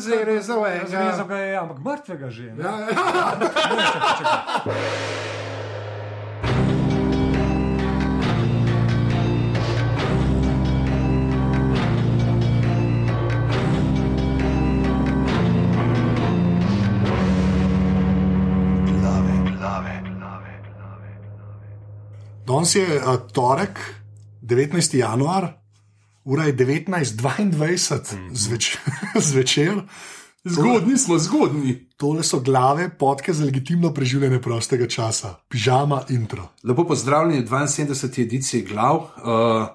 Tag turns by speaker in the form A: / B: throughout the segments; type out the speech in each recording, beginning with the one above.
A: Razrezal je
B: Razrezal ga je, ampak mrtvega že. ne.
A: Ja,
B: Ne, čakaj, čakaj.
C: Glave, glave, glave, glave.
D: Danes je uh, torek, 19. januar, ura je 19:22
A: Mhm.
D: mm. zvečer. zvečer.
A: zgodni smo, zgodni.
D: Tole so glave, podke za legitimno preživljanje prostega časa, pižama, intro.
A: Lepo pozdravljeni v 72. ediciji glav. Uh,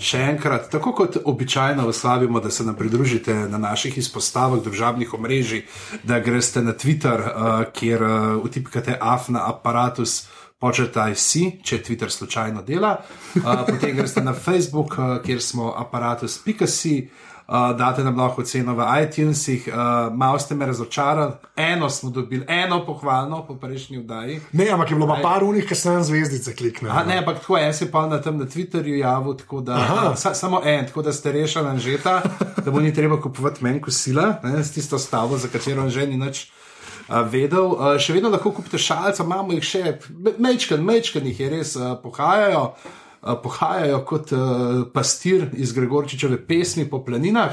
A: še enkrat, tako kot običajno vas vabimo, da se nam pridružite na naših izpostavah državnih omrežij, da greste na Twitter, uh, kjer uh, utipkate afna aparatus. Početaj si, če Twitter slučajno dela, uh, potem greste na Facebook, uh, kjer smo aparatus.si, Uh, date nam lahko ceno v iTunesih, uh, malo ste me razočarali, eno smo dobili, eno pohvalno po prejšnji vdaji.
D: Ne, ampak je bilo pa par unih, ki sem na zvezdice kliknil.
A: Aha, ne, ampak tako en se je pa na tem na Twitterju javil, tako da, sa, samo en, tako da ste rešili anžeta, da mu ni treba kupovati meni kosila, ne, s tisto stavo, za katero on že ni nič. a, Vedel, A, še vedno lahko kupite šalice, imamo jih še, mečken, mečken jih je res, a, pohajajo, a, pohajajo kot a, pastir iz Gregorčičeve pesmi po planinah.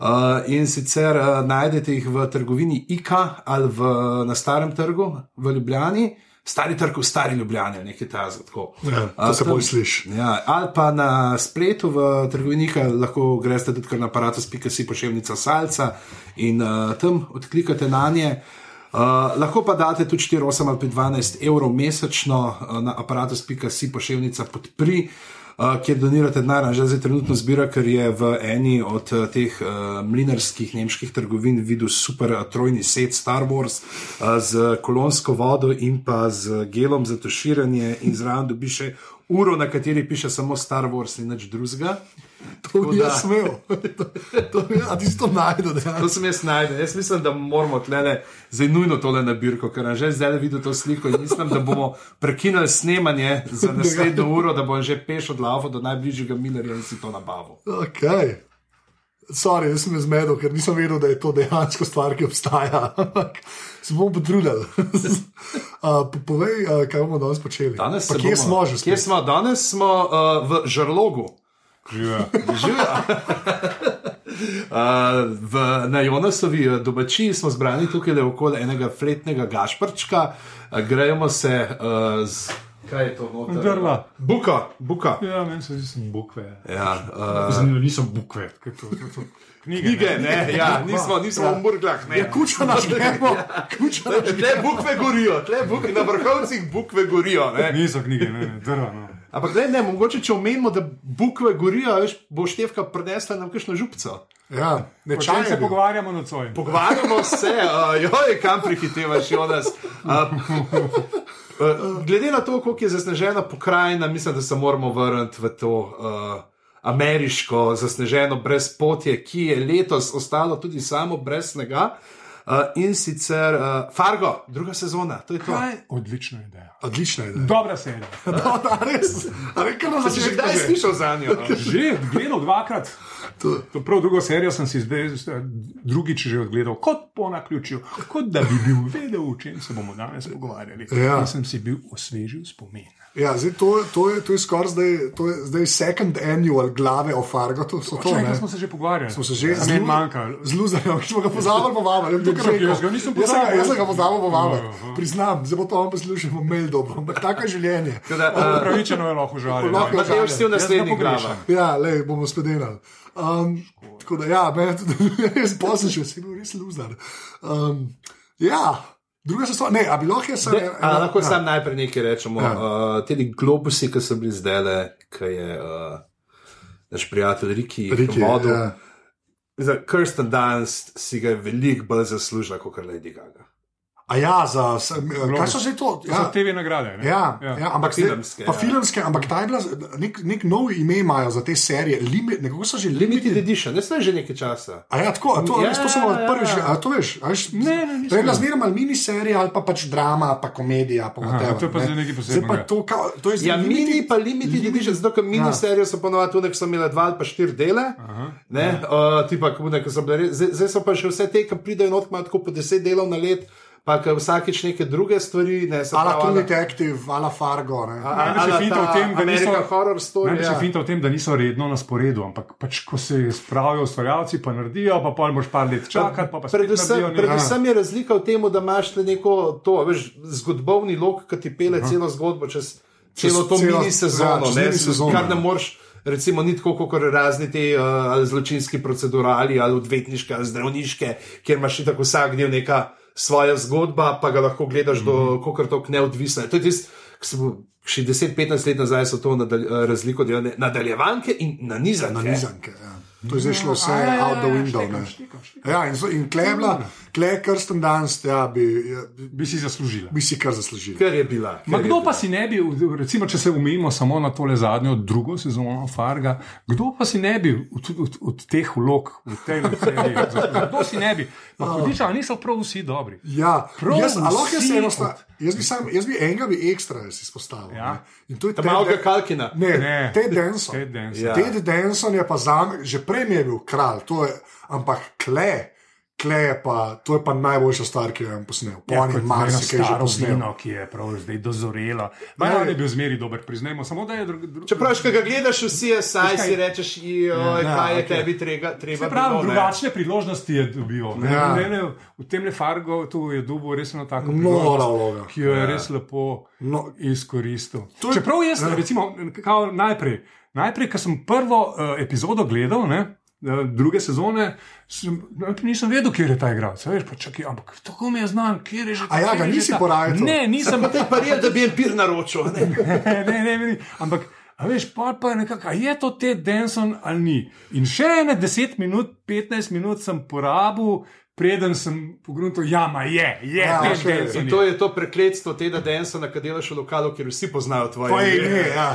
A: Uh, in sicer uh, najdete jih v trgovini Ika ali v, na starem trgu v Ljubljani, stari trg v stari Ljubljani, nekaj tazga.
D: Ja, to se bolj sliši.
A: Ja, ali pa na spletu v trgovini Ika lahko greste tudi kar na aparatus.si pošiljka salca in uh, tam odklikate na nje. Uh, lahko pa date tudi 4, 8 ali 12 evrov mesečno uh, na aparatus.si pošiljka podpri. Uh, kjer donirate denar, A že zdaj trenutno zbira, ker je v eni od uh, teh uh, mlinarskih nemških trgovin videl super uh, trojni set Star Wars uh, z kolonsko vodo in pa z gelom za tuširanje, in zraven dobi še uro, na kateri piše samo Star Wars in nič drugega.
D: to bi
A: da-
D: jaz smel. To, to, a ti si to najdel, da
A: To sem jaz najdel. Jaz mislim, da moramo tlele, zdaj nujno tole nabirko, ker sem že zdaj videl to sliko in mislim, da bomo prekinili snemanje za naslednjo uro, da bom že peš odlaval do najbližjega Millerja in si to nabavil.
D: Okay. Sorry, jaz sem jo zmedel, ker nisem vedel, da je to dejansko stvar, ki obstaja. Ampak se bomo potrudili. uh, po- povej, uh, kaj bomo danes počeli.
A: Danes
D: Pa
A: se
D: kje
A: bomo-
D: smo že?
A: Kje smo? Danes smo uh, v Žrlogu. Živijo. Uh, v, na Jonasovi eh, domačiji smo zbrani tukaj le okoli enega fletnega gašprčka, uh, grejemo se uh, z. Kaj je to? noter?
B: Drva.
A: Buka, buka.
B: Ja, meni se zdi, da sem bukve.
A: Ja, uh,
B: Zanimivo, niso bukve. tako to- to- to- Knjige.
A: knjige, ne, ja, nismo, nismo v Murglah. Ne, ja, kuča naš gremo, kuča naš gremo. Tle bukve gorijo, tle bukve, na vrhovcih bukve gorijo. Ne.
B: Niso knjige, ne, ne, drva. No.
A: Ampak ne, ne, mogoče če omenimo, da bukve gorijo, veš, bo števka prenesla nam kakšno župco.
D: Ja, ne
B: O
D: čakaj.
B: čem se pogovarjamo nocoj?
A: Pogovarjamo se, uh, joj, kam prihitevaš, Jonas. Uh, uh, glede na to, koliko je zasnežena pokrajina, mislim, da se moramo vrniti v to uh, ameriško zasneženo brezpotje, ki je letos ostalo tudi samo brez snega. Uh, in sicer uh, Fargo, druga sezona, to je to.
D: Kaj?
B: Odlična ideja.
D: Odlična je.
B: Dobra serija.
D: No, da, res. A veš, kaj nas
A: Če si že kdaj
D: začne?
A: slišal za njo? no?
B: Že gledal dvakrat.
D: To-
B: To prav drugo serijo sem si zdaj eh, drugič že ogledal, kot po naključju, kot da bi bil vedel, o čem se bomo danes pogovarjali.
D: Ja.
B: In sem si bil osvežil spomin.
D: Ja, zdaj to, to je, to je skoraj zdaj, to je zdaj second annual glave o Fargo. To, so to,
B: Če
D: ne?
B: enkrat smo se Ja, že pogovarjali,
D: Smo se že
B: zelo
D: zlu-
B: manjkali.
D: Zluzali, ki smo ga pozvali, povabili. Jaz,
B: Jaz ga nisem
D: jaz, sem ga-
B: pozabil.
D: jaz sem ga pozval, povabili.
B: Ja, ja.
D: Priznam, zelo to vam poslušamo, mail dobro, ampak tako je življenje.
A: Tako da, eh,
B: Pravičeno je lahko žalil.
D: Lahko
B: Ja.
D: je
A: Matej, si v naslednjih
B: pogrešam.
A: glavah.
D: Ja, le bomo spedenali. Um, tako da, ja, meni tudi res poslušal, si bil res luzar. Um, ja, druga se stvar, ne, a bilo je samo.
A: Ne, a, lahko
D: ja.
A: sam najprej nekaj rečemo.
D: Ja.
A: Uh, Ti globusi, ki so bili zdaj le, ki je uh, naš prijatelj Riki,
D: Riki,
A: Riki vodil.
D: ja.
A: Ja. Za Kirsten Dunst si ga je veliko bolj zaslužila kot Lady Gaga.
D: A ja, za vse. Kaj so že to?
B: Za
D: Ja.
B: TV nagrade. ne?
D: Ja, ja. ja, ampak
A: Pa
D: zdaj-
A: filmske,
D: Pa
A: ja.
D: filmske, ampak ta je bila, nek, nek nov ime imajo za te serije, Limit, nekako so že
A: Limited
D: limited.
A: edition, ne znaš že nekaj časa.
D: A ja, tako, a to,
A: Ja,
D: ja, to samo
A: ja,
D: prvi,
A: ja.
D: že, a to veš, a veš,
B: Ne, ne, nisem
D: to je bila
B: videl.
D: zmeraj malo miniserija ali pa pač drama, pa komedija, pa whatever,
B: to je pa
D: ne.
B: zdaj nekaj
D: Zdaj pa
B: posebnega.
D: to, kao, to je zdaj
A: Ja, mini
D: limited-
A: pa limited edition, zato
D: Ja.
A: ker mini serijo so ponovadi tudi, so imele dva ali pa štiri dele. ne,
D: Ja.
A: eh, tipa, ko ne, ko so bile res- Zdaj zdaj so pa še vse te, ki pridejo not, imajo tako po deset delov na let, pa ke vsakič neke druge stvari. Ne, se
D: Ala
A: pravi,
D: True
A: ala-
D: Detective, ala Fargo. ne.
A: a-
B: Najbrž je
A: ala
B: finta v
A: ta
B: tem, da niso-
A: American horror story.
B: Najbolj je
A: ja.
B: finta v tem, da niso redno na sporedu, ampak pač, ko se spravijo ustvarjalci, pa naredijo, pa pol moš par let čakati. Pa pa spet
A: Predvsem,
B: naredijo, ja. ne.
A: predvsem je razlika v tem, da imaš le neko to, veš, zgodbovni lok, ki ti pele celo zgodbo čez,
D: Čez
A: celo to
D: celo-
A: mini sezono,
D: ja, čez
A: ne,
D: mini sezono,
A: kar ne
D: ja.
A: moreš. Recimo, ni tako kot razni ti uh, ali zločinski procedurali, ali odvetniške, ali zdravniške, kjer imaš tako vsak del neka svoja zgodba, pa ga lahko gledaš
B: Mhm.
A: do kako tako neodvisna. To je tisto, ki se bo še 10-15 let nazaj so to nadalj, eh, razliko delali nadaljevanke in nanizanke.
D: Na nizanke. Ja. To je zdaj šlo vse
B: Ja, ja, ja,
D: out the
B: ja,
D: window.
B: štekam,
D: ne.
B: štekam, štekam. Hm.
D: Ja, in, so- in klebla, kle, krsten danes, ja, bi, ja, bi-
B: Bi si zaslužila.
D: bi si kar zaslužil.
A: Ker je bila.
B: Ma
A: ker je
B: kdo pa si ne bi, recimo, če se umemo samo na tole zadnjo, drugo sezono Farga, kdo pa si ne bi od, od, od teh vlog, od te serije, kdo si ne bi? Pa hudiča, a niso prav vsi dobri.
D: Ja,
B: Prav
D: jaz, a lahko jaz
B: vsi
D: eno stvar. Jaz bi, sam, jaz bi enega bi ekstra jaz izpostavil.
B: Ja.
D: ne. In to je
A: Ta
D: Ted
A: malega
D: Dan-
A: Kalkina.
D: Ne,
B: Ne.
D: ne. Ted Denson.
B: Ted Danson.
A: Ja.
D: Ted Denson je pa za me, že prej mi je bil kralj, to je, ampak kle. Kle je pa, to je pa najboljša stvar, ki jo je posnel. Po
B: Ja,
D: enem
B: kot
D: marsikaj
B: eno
D: že
B: staro
D: posnel.
B: vino, ki je prav zdaj dozorela. Ma,
D: Ne.
B: ja, on je bil zmeri dober, priznajmo, samo da je drug. drug
A: Čeprav, če ga gledaš, vsi je saj,
B: kaj-
A: si rečeš, joj,
D: Ja,
A: kaj je
D: ok.
A: tebi trega, treba.
B: Se pravi,
A: bilo, ne."
B: drugačne priložnosti je dobil. ne.
D: Ja.
B: Ne, ne, V tem lefargu tu je dobil res eno tako
D: Nora
B: priložnost,
D: vloga. Ja.
B: ki jo je res lepo
D: No.
B: izkoristil.
D: To je- Ja.
B: Čeprav jaz, recimo, kao najprej, najprej ko sem prvo eh, epizodo gledal, ne, eh, druge sezone, sem, najprej nisem vedel, kje je ta igralec. a veš, pa čakaj, Ampak tako mi je znan, kje je že.
D: A ja,
B: kje
D: ga
B: je že
D: nisi
B: ta-
D: porajtal?
B: Ne, nisem.
A: Pa rekel, da bi en pir naročil. ne.
B: ne, ne, ne, ne. Ampak, a veš, pol pa je nekako, a je to te Denson ali ni. In še ene 10 minut, 15 minut sem porabil, preden sem pogrunil, jama je, je,
D: Ja,
B: ja,
D: še.
B: je.
A: In to je to prekletstvo tega densa, na katerem delaš v lokalu, kjer vsi poznajo tvoje
D: Pa je,
A: ime.
D: ne, ja.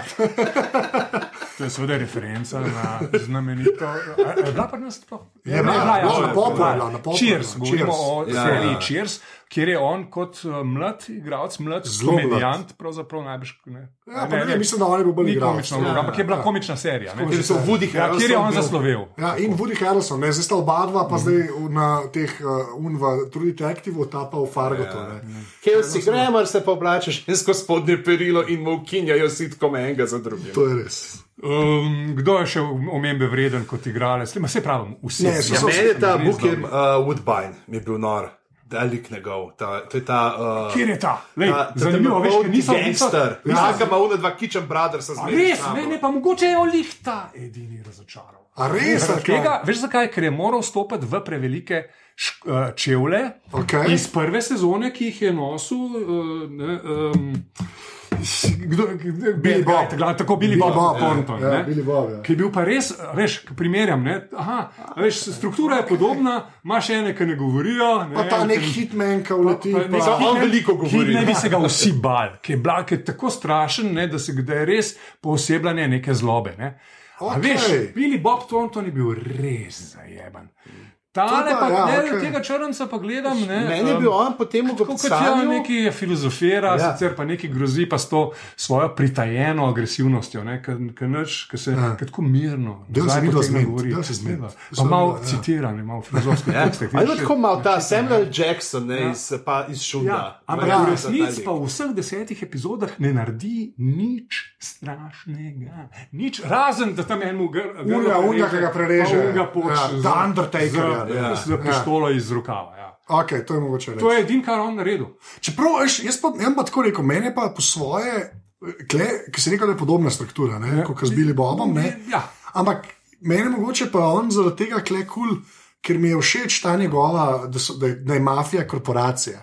B: To je seveda referenca na znamenito. a- a Je bila pri nas sploh?
D: Je bila,
B: ja,
D: bila,
B: ja,
D: na
B: ja,
D: popu je
B: ja.
D: bila, na popu je
B: Cheers,
D: bila.
B: govorimo o
A: Cheers. Ja,
B: seriji
A: ja.
B: Cheers, kjer je on kot eh, mlad igralec, mlad
D: Zelo mlad.
B: komedijant, pravzaprav najbrž. Ne,
D: Ja, pa ne vem, mislim, da on je bil bolj
B: Ni
D: igralec.
B: komična
D: Ja,
B: vloga, ampak je bila
D: ja.
B: komična serija. ne.
A: Ker so no. vudi
B: Ja, kjer je on zaslovel.
D: Ja, in Woody Harrelson, ne, zdaj sta oba dva, pa zdaj
B: Mhm.
D: v- na teh uh, unva, tudi Detectivu, ta pa v Fargotu. Ja,
A: Kjer si gremar, se pa oblačeš in skozi spodnje perilo in mu ukinjajo sitkom enega za drugim.
D: to je res.
B: Um, kdo je še omembe vreden kot igralec? Ma, Se pravi, vsi
D: Ne,
A: Ja,
D: so-
A: meni je ta
B: res
A: Book in
B: dobri.
A: Woodbine, mi je bil nor, delik njegov. ta- To je ta. uh,
B: Kjer je ta? Lej,
A: ta- ta
B: zanimivo, veš, ker
A: temnopolti
B: nisem
A: gangster. Ja, ga ima una dva Kitchen Brothers.
B: A Res, ne, ne, pa mogoče je olihta edini razočaral.
D: A res,
B: Zaradi
D: ali kaj?
B: tega, veš zakaj? Ker je moral stopiti v prevelike šk- eh, čevlje
D: Okej.
B: iz prve sezone, ki jih je nosil. eh, ne, em, Kdo, kdo, Billy
D: Bob.
B: Bob, tako Billy
D: Billy
B: Bob,
D: Bob, ja.
B: Thornton,
D: Ja,
B: ne,
D: Billy Bob, ja.
B: ki je bil pa res, eh, veš, k- primerjam, ne, aha, a veš, struktura je podobna, imaš ene, ki ne govorijo. Ne,
D: Pa ta nek
B: ki-
D: hitman, ki uleti.
B: Pa je nek
D: pa-
A: on
B: hitman,
A: veliko govori.
B: ki Ne bi se ga vsi bali, ki je, bila, ki je tako strašen, ne, da se da je res posebljanje neke zlobe. Ne. Okay.
D: Okej.
B: Veš, Billy Bob Thornton je bil res zajeben.
D: To
B: Tale
D: pa,
B: pa,
D: ja,
B: ja, ne,
D: okej.
B: okay. tega črnca pa gledam. Ne,
A: Meni je
B: em,
A: bil on potem v
B: Tako kot je
A: Gopcu.
B: neki filozofira,
A: Ja.
B: ja. sicer pa neki grozi pa s to svojo pritajeno agresivnostjo, ne, ker- ker nič, ker se ja. tako mirno
D: Del se
B: nazaj
D: ni
B: potegne
D: razmed,
B: govori.
D: del se zmed.
B: Pa
D: Sem,
B: Malo
D: ja.
B: citirane, malo filozofske tekste.
A: Ja. Ali je tako malo ta Samuel Jackson ne, iz, pa, iz
B: Ja,
A: Šunda?
B: ampak
A: Ja,
B: ja,
A: ta
B: v resnici
A: lik.
B: pa v vseh desetih epizodah ne naredi nič strašnega. Nič, razen da tam enemu
D: Unga, unga, ki ga prereže.
B: Unga poč,
D: Ja, da Undertakerja,
B: Z,
D: ja.
B: ja, z pištolo iz rokava. Ja.
D: Ok, to je mogoče reči.
B: To je edino, kar on naredi.
D: Čeprav, veš, jaz pa, jaz pa tako rekel, meni je pa po svoje, eh, kle, ki se reče, da je podobna struktura, ne, ja. kot z Billy Bobom. Ne.
B: Ja.
D: Ampak meni je mogoče pa on zaradi tega kle kul, cool, ker mi je všeč ta njegova, da, so, da, je- da je mafija korporacija.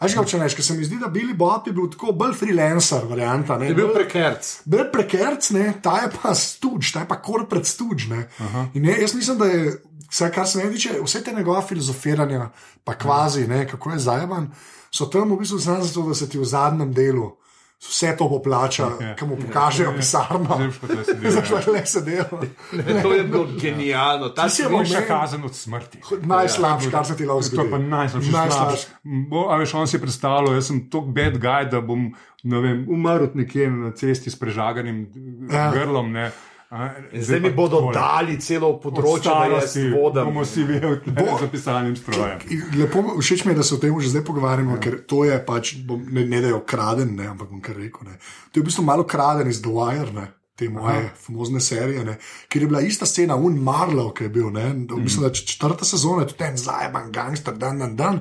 D: Až ga včeraj, ker se mi zdi, da Billy Bob je bil tako bolj freelancer, varianta. Ne,
A: Je bil
D: bolj-
A: prekerc.
D: Bil prekerc, ne, ta je pa stuž, ta je pa korporat stuž. Ne. In ne, jaz mislim, da je vse, kar se meni tiče, vse te njegove filozofiranja, pa kvazi, ne, kako je zajeman, so tam v bistvu znani zato, da se ti v zadnjem delu vse to poplača,
B: Ja.
D: ki mu pokažejo pisarno.
B: Zdaj boš pa tule sedel, ja.
D: Zdaj boš pa le sedel.
A: To je bilo genialno. Ta
D: Ti si
A: film-
D: pa
B: Boljša
D: meni-
B: kazen od smrti.
D: Najslabše, kar se ti lahko
B: Ja. To
D: zgodi.
B: je pa najslabše.
D: Najslabše.
B: Najslabše. Bo, a veš, on si je predstavljal, jaz sem tako bad guy, da bom ne vem, umrl nekje na cesti s prežaganim
D: Ja.
B: ja. grlom. Ne. A,
E: Zdaj mi
B: pa ja.
E: bodo
B: takole.
E: dali celo
B: Od
E: področje, da jaz
B: starosti
E: vodam.
B: bomo vsi vedeli, da
D: Bo-
B: je zapisanim strojem.
D: Lepo, všeč mi je, da se o tem že zdaj pogovarjamo, ja. ker to je pač, bom, ne, ne da je ukraden, ne, ampak bom kar rekel. Ne. To je v bistvu malo kraden iz The Wire, ne, te moje Aha. famozne serije, ne, kjer je bila ista scena, un Marlow, ki je bil. Ne, v bistvu, da č- četrta sezona je tudi en zajeban gangster, dan na dan,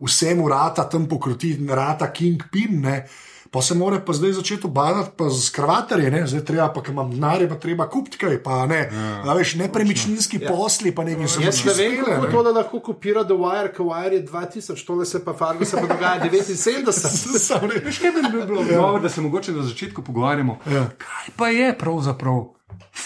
D: vsemu rata tam pokroti, rata Kingpin. Ne, Pa se mora pa zdaj začeti obadati pa z kravaterje, ne? zdaj treba, pa, ker imam denar, je pa treba kupiti kaj, pa ne, ja, veš, nepremičninski ja. posli, pa nekaj se
A: Jaz ne vem, kako to, da lahko kopira The Wire, ker Wire je 2000, tole se pa Fargo se pa dogaja 79.
D: Sam ne
B: Še vedno bi bilo dobro, da se mogoče na začetku pogovarjamo,
D: Ja.
B: kaj pa je pravzaprav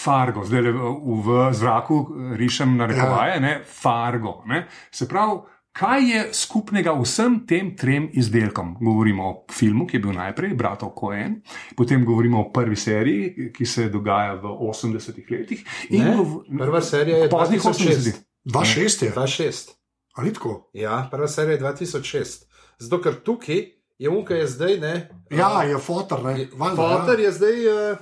B: Fargo, zdaj le v, v zraku eh, rišem na
A: Ja.
B: rekovaje, ne Fargo. Ne? Se pravi, kaj je skupnega vsem tem trem izdelkom? Govorimo o filmu, ki je bil najprej, Bratov Koen, potem govorimo o prvi seriji, ki se dogaja v 80-ih letih. in
A: Ne,
B: gov-
A: prva serija je
B: poznih
A: 2006.
B: 80-ih.
D: 2-6 je.
A: Ja. 2006.
D: Ali ni tako?
A: Ja, prva serija je 2006. Zato, ker tukaj je unka je zdaj, ne.
D: Ja, je fotor, ne. Valjda, ja.
A: Potter je zdaj, eh,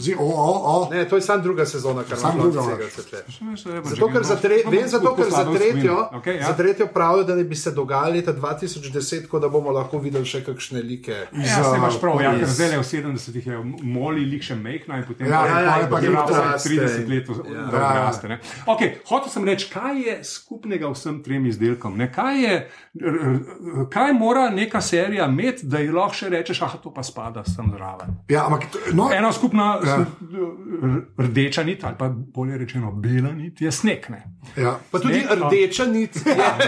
D: Zdaj, o, o, o.
A: ne, to je samo druga sezona, kar
D: Samo
A: nam
D: druga,
A: lahko
D: ja.
A: se tule. Zato,
B: Zato,
A: ker za, tre, vem, zato, ker za, tretjo,
B: okay, ja.
A: za tretjo pravijo, da ne bi se dogajalo leta 2010, tako da bomo lahko videli še kakšne like.
B: Ja, se imaš prav, ja, ker
A: iz-
B: zdaj le v 70-ih je moli, lik še mehna in potem
D: Ja, ja,
B: je
D: ja, in
B: pa
D: potem
A: odraste.
B: 30 let, v-
A: Ja.
B: da odraste. ne. Okay, hotel sem reči, kaj je skupnega vsem trem izdelkom? Ne? Kaj, je, r- r- kaj mora neka serija imeti, da ji lahko še rečeš, ah, to pa spada sem zraven.
D: Ja, ampak, to- no,
B: Ena skupna
D: Ja.
B: ja. rdeča nit, ali pa bolje rečeno bela nit, je sneg. Ne?
D: ja.
A: Pa tudi
B: Sneg, no.
A: rdeča nit. Ja.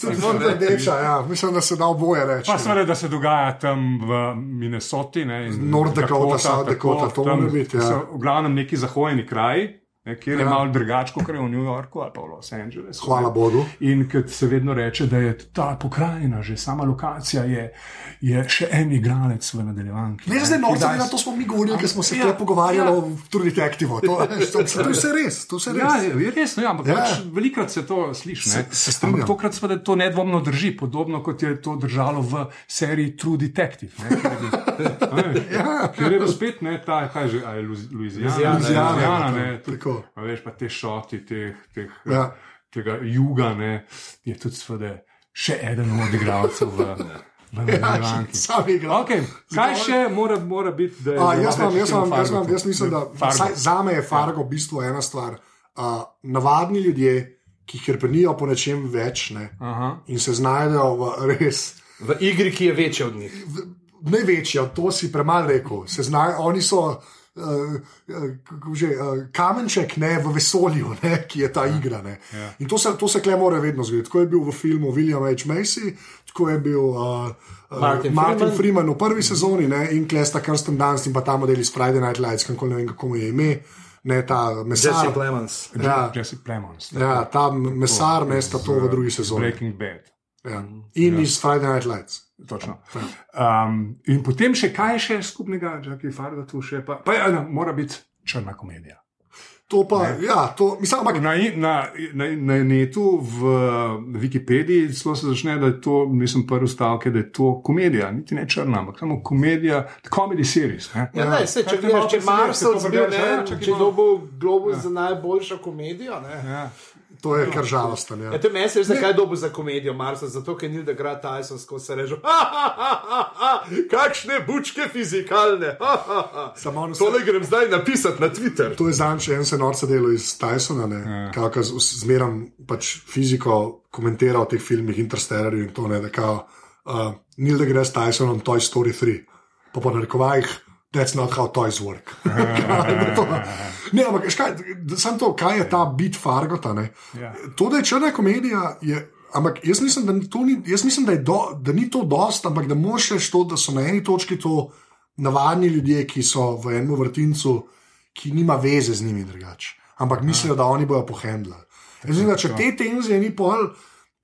D: Tudi zelo rdeča, ja. mislim, da se da oboje reči.
B: Pa seveda, da se dogaja tam v Minnesoti, ne, in
D: North Dakota, South Dakota, to
B: tam
D: mora biti, ja.
B: so v glavnem neki zahojeni kraji, ne, kjer je
D: Ja.
B: malo drugače kot je v New Yorku ali pa v Los Angelesu.
D: Hvala
B: ne.
D: Bogu.
B: In kot se vedno reče, da je ta pokrajina, že sama lokacija, je, je še en igralec v nadaljevanki.
D: Ne, zdaj
B: Ki
D: norce,
B: daje-
D: na to smo mi govorili, ker smo se
B: Ja,
D: ja, pogovarjali
B: ja.
D: ja. o True Detectiveu. To, veš, to, to, to je vse res, to je vse
B: Ja,
D: res.
B: je res, no, ja, ampak
D: Ja.
B: ja. Pač velikrat se to sliši. ne.
D: Se- se strinjam.
B: Ampak tokrat pa to nedvomno drži, podobno kot je to držalo v seriji True Detective. Ne, kjer, je bil, ja. kjer je bil spet ne, ta, kaj že, a je Luz- Louisiana,
A: Louisiana,
B: Louisiana,
D: ja,
B: ne,
D: tako,
B: tudi,
D: tako.
B: a veš pa te šoti, teh, teh,
D: Ja.
B: tega juga, ne, je tudi sveda še eden od igralcev v, v
D: Ja,
B: nadaljevanki.
D: Sam igra.
B: Okay, kaj še mora, mora biti? da je
D: A, jaz,
B: navaden
D: imam, jaz,
B: film
D: imam, jaz,
B: Fargo?
D: imam, jaz mislim, da
B: Fargo. Ja.
D: vsaj za me je Fargo v bistvu ena stvar. Uh, navadni ljudje, ki krpenijo po nečem več ne,
B: Aha.
D: in se znajdejo v res
A: V igri, ki je večja od njih.
D: največja, to si premalo rekel. Se Zna, oni so. Uh, že, uh, kamenček ne, v vesolju, ne, ki je ta igra. Ne. In to se, to se kle mora vedno zgoditi. Tako je bil v filmu William H. Macy, tako je bil uh,
A: Martin
D: Martin, Martin
A: Freeman.
D: Freeman v prvi sezoni ne, in klesta Kirsten Dunst in pa ta model iz Friday Night Lights, kako ne vem, kako mu je ime, ne ta
A: Jesse
D: mesar.
A: Clemens.
D: Ja,
B: Jesse Plemons.
D: ja, ta mesar, ne sta to v drugi sezoni.
B: Breaking Bad.
D: Ja. In iz Friday Night Lights.
B: Točno. Um, in potem še kaj je še skupnega, Jackie Fargo tu še pa, pa ja, no, mora biti črna komedija.
D: To pa, ja, to, mislim, ampak
B: Na, i- na, na, na netu, v Wikipediji, zelo se začne, da je to, nisem prvi stavek, da je to komedija, niti ne črna, ampak samo komedija, komedij series. ne.
A: Ja, ne, se, če
B: Kaj te malo
A: gledaš, če
B: preseneča,
A: Marsovc
B: to
A: bil,
B: prebereš,
A: ne,
B: ja, čakaj
A: če je
B: malo.
A: dobil globus za najboljšo komedijo, ne.
B: Ja.
D: to je kar žalosten. Ja.
A: Ja, to je meni, veš, zakaj je dobil za komedijo Marsovc, zato ker ni da gra Tyson skozi se reže, "Ha, ha, ha, ha, ha, kakšne bučke fizikalne, ha, ha, ha.
D: Samo on vse-
A: tole grem zdaj napisati na Twitter.
D: To je zanj, če en se norce delo iz Tysona, ja. ki zmeraj pač fiziko komentira o teh filmih, Interstellarju in to ne, da kao, uh, Neil da gre s Tysonom Toy Story 3, pa po narekovajih. That's not how toys work. Kaj je to? ne, ampak škaj, sam to, kaj je ta bit Fargota. ne?
B: Ja.
D: To, da je črna komedija, je, ampak jaz mislim, da, to ni, jaz mislim, da, je do, da ni to dost, ampak da moraš reči to, da so na eni točki to navadni ljudje, ki so v enem vrtincu, ki nima veze z njimi drugače. Ampak mislijo, da oni bojo pohendlali. Mislim, da če te tenzije ni pol,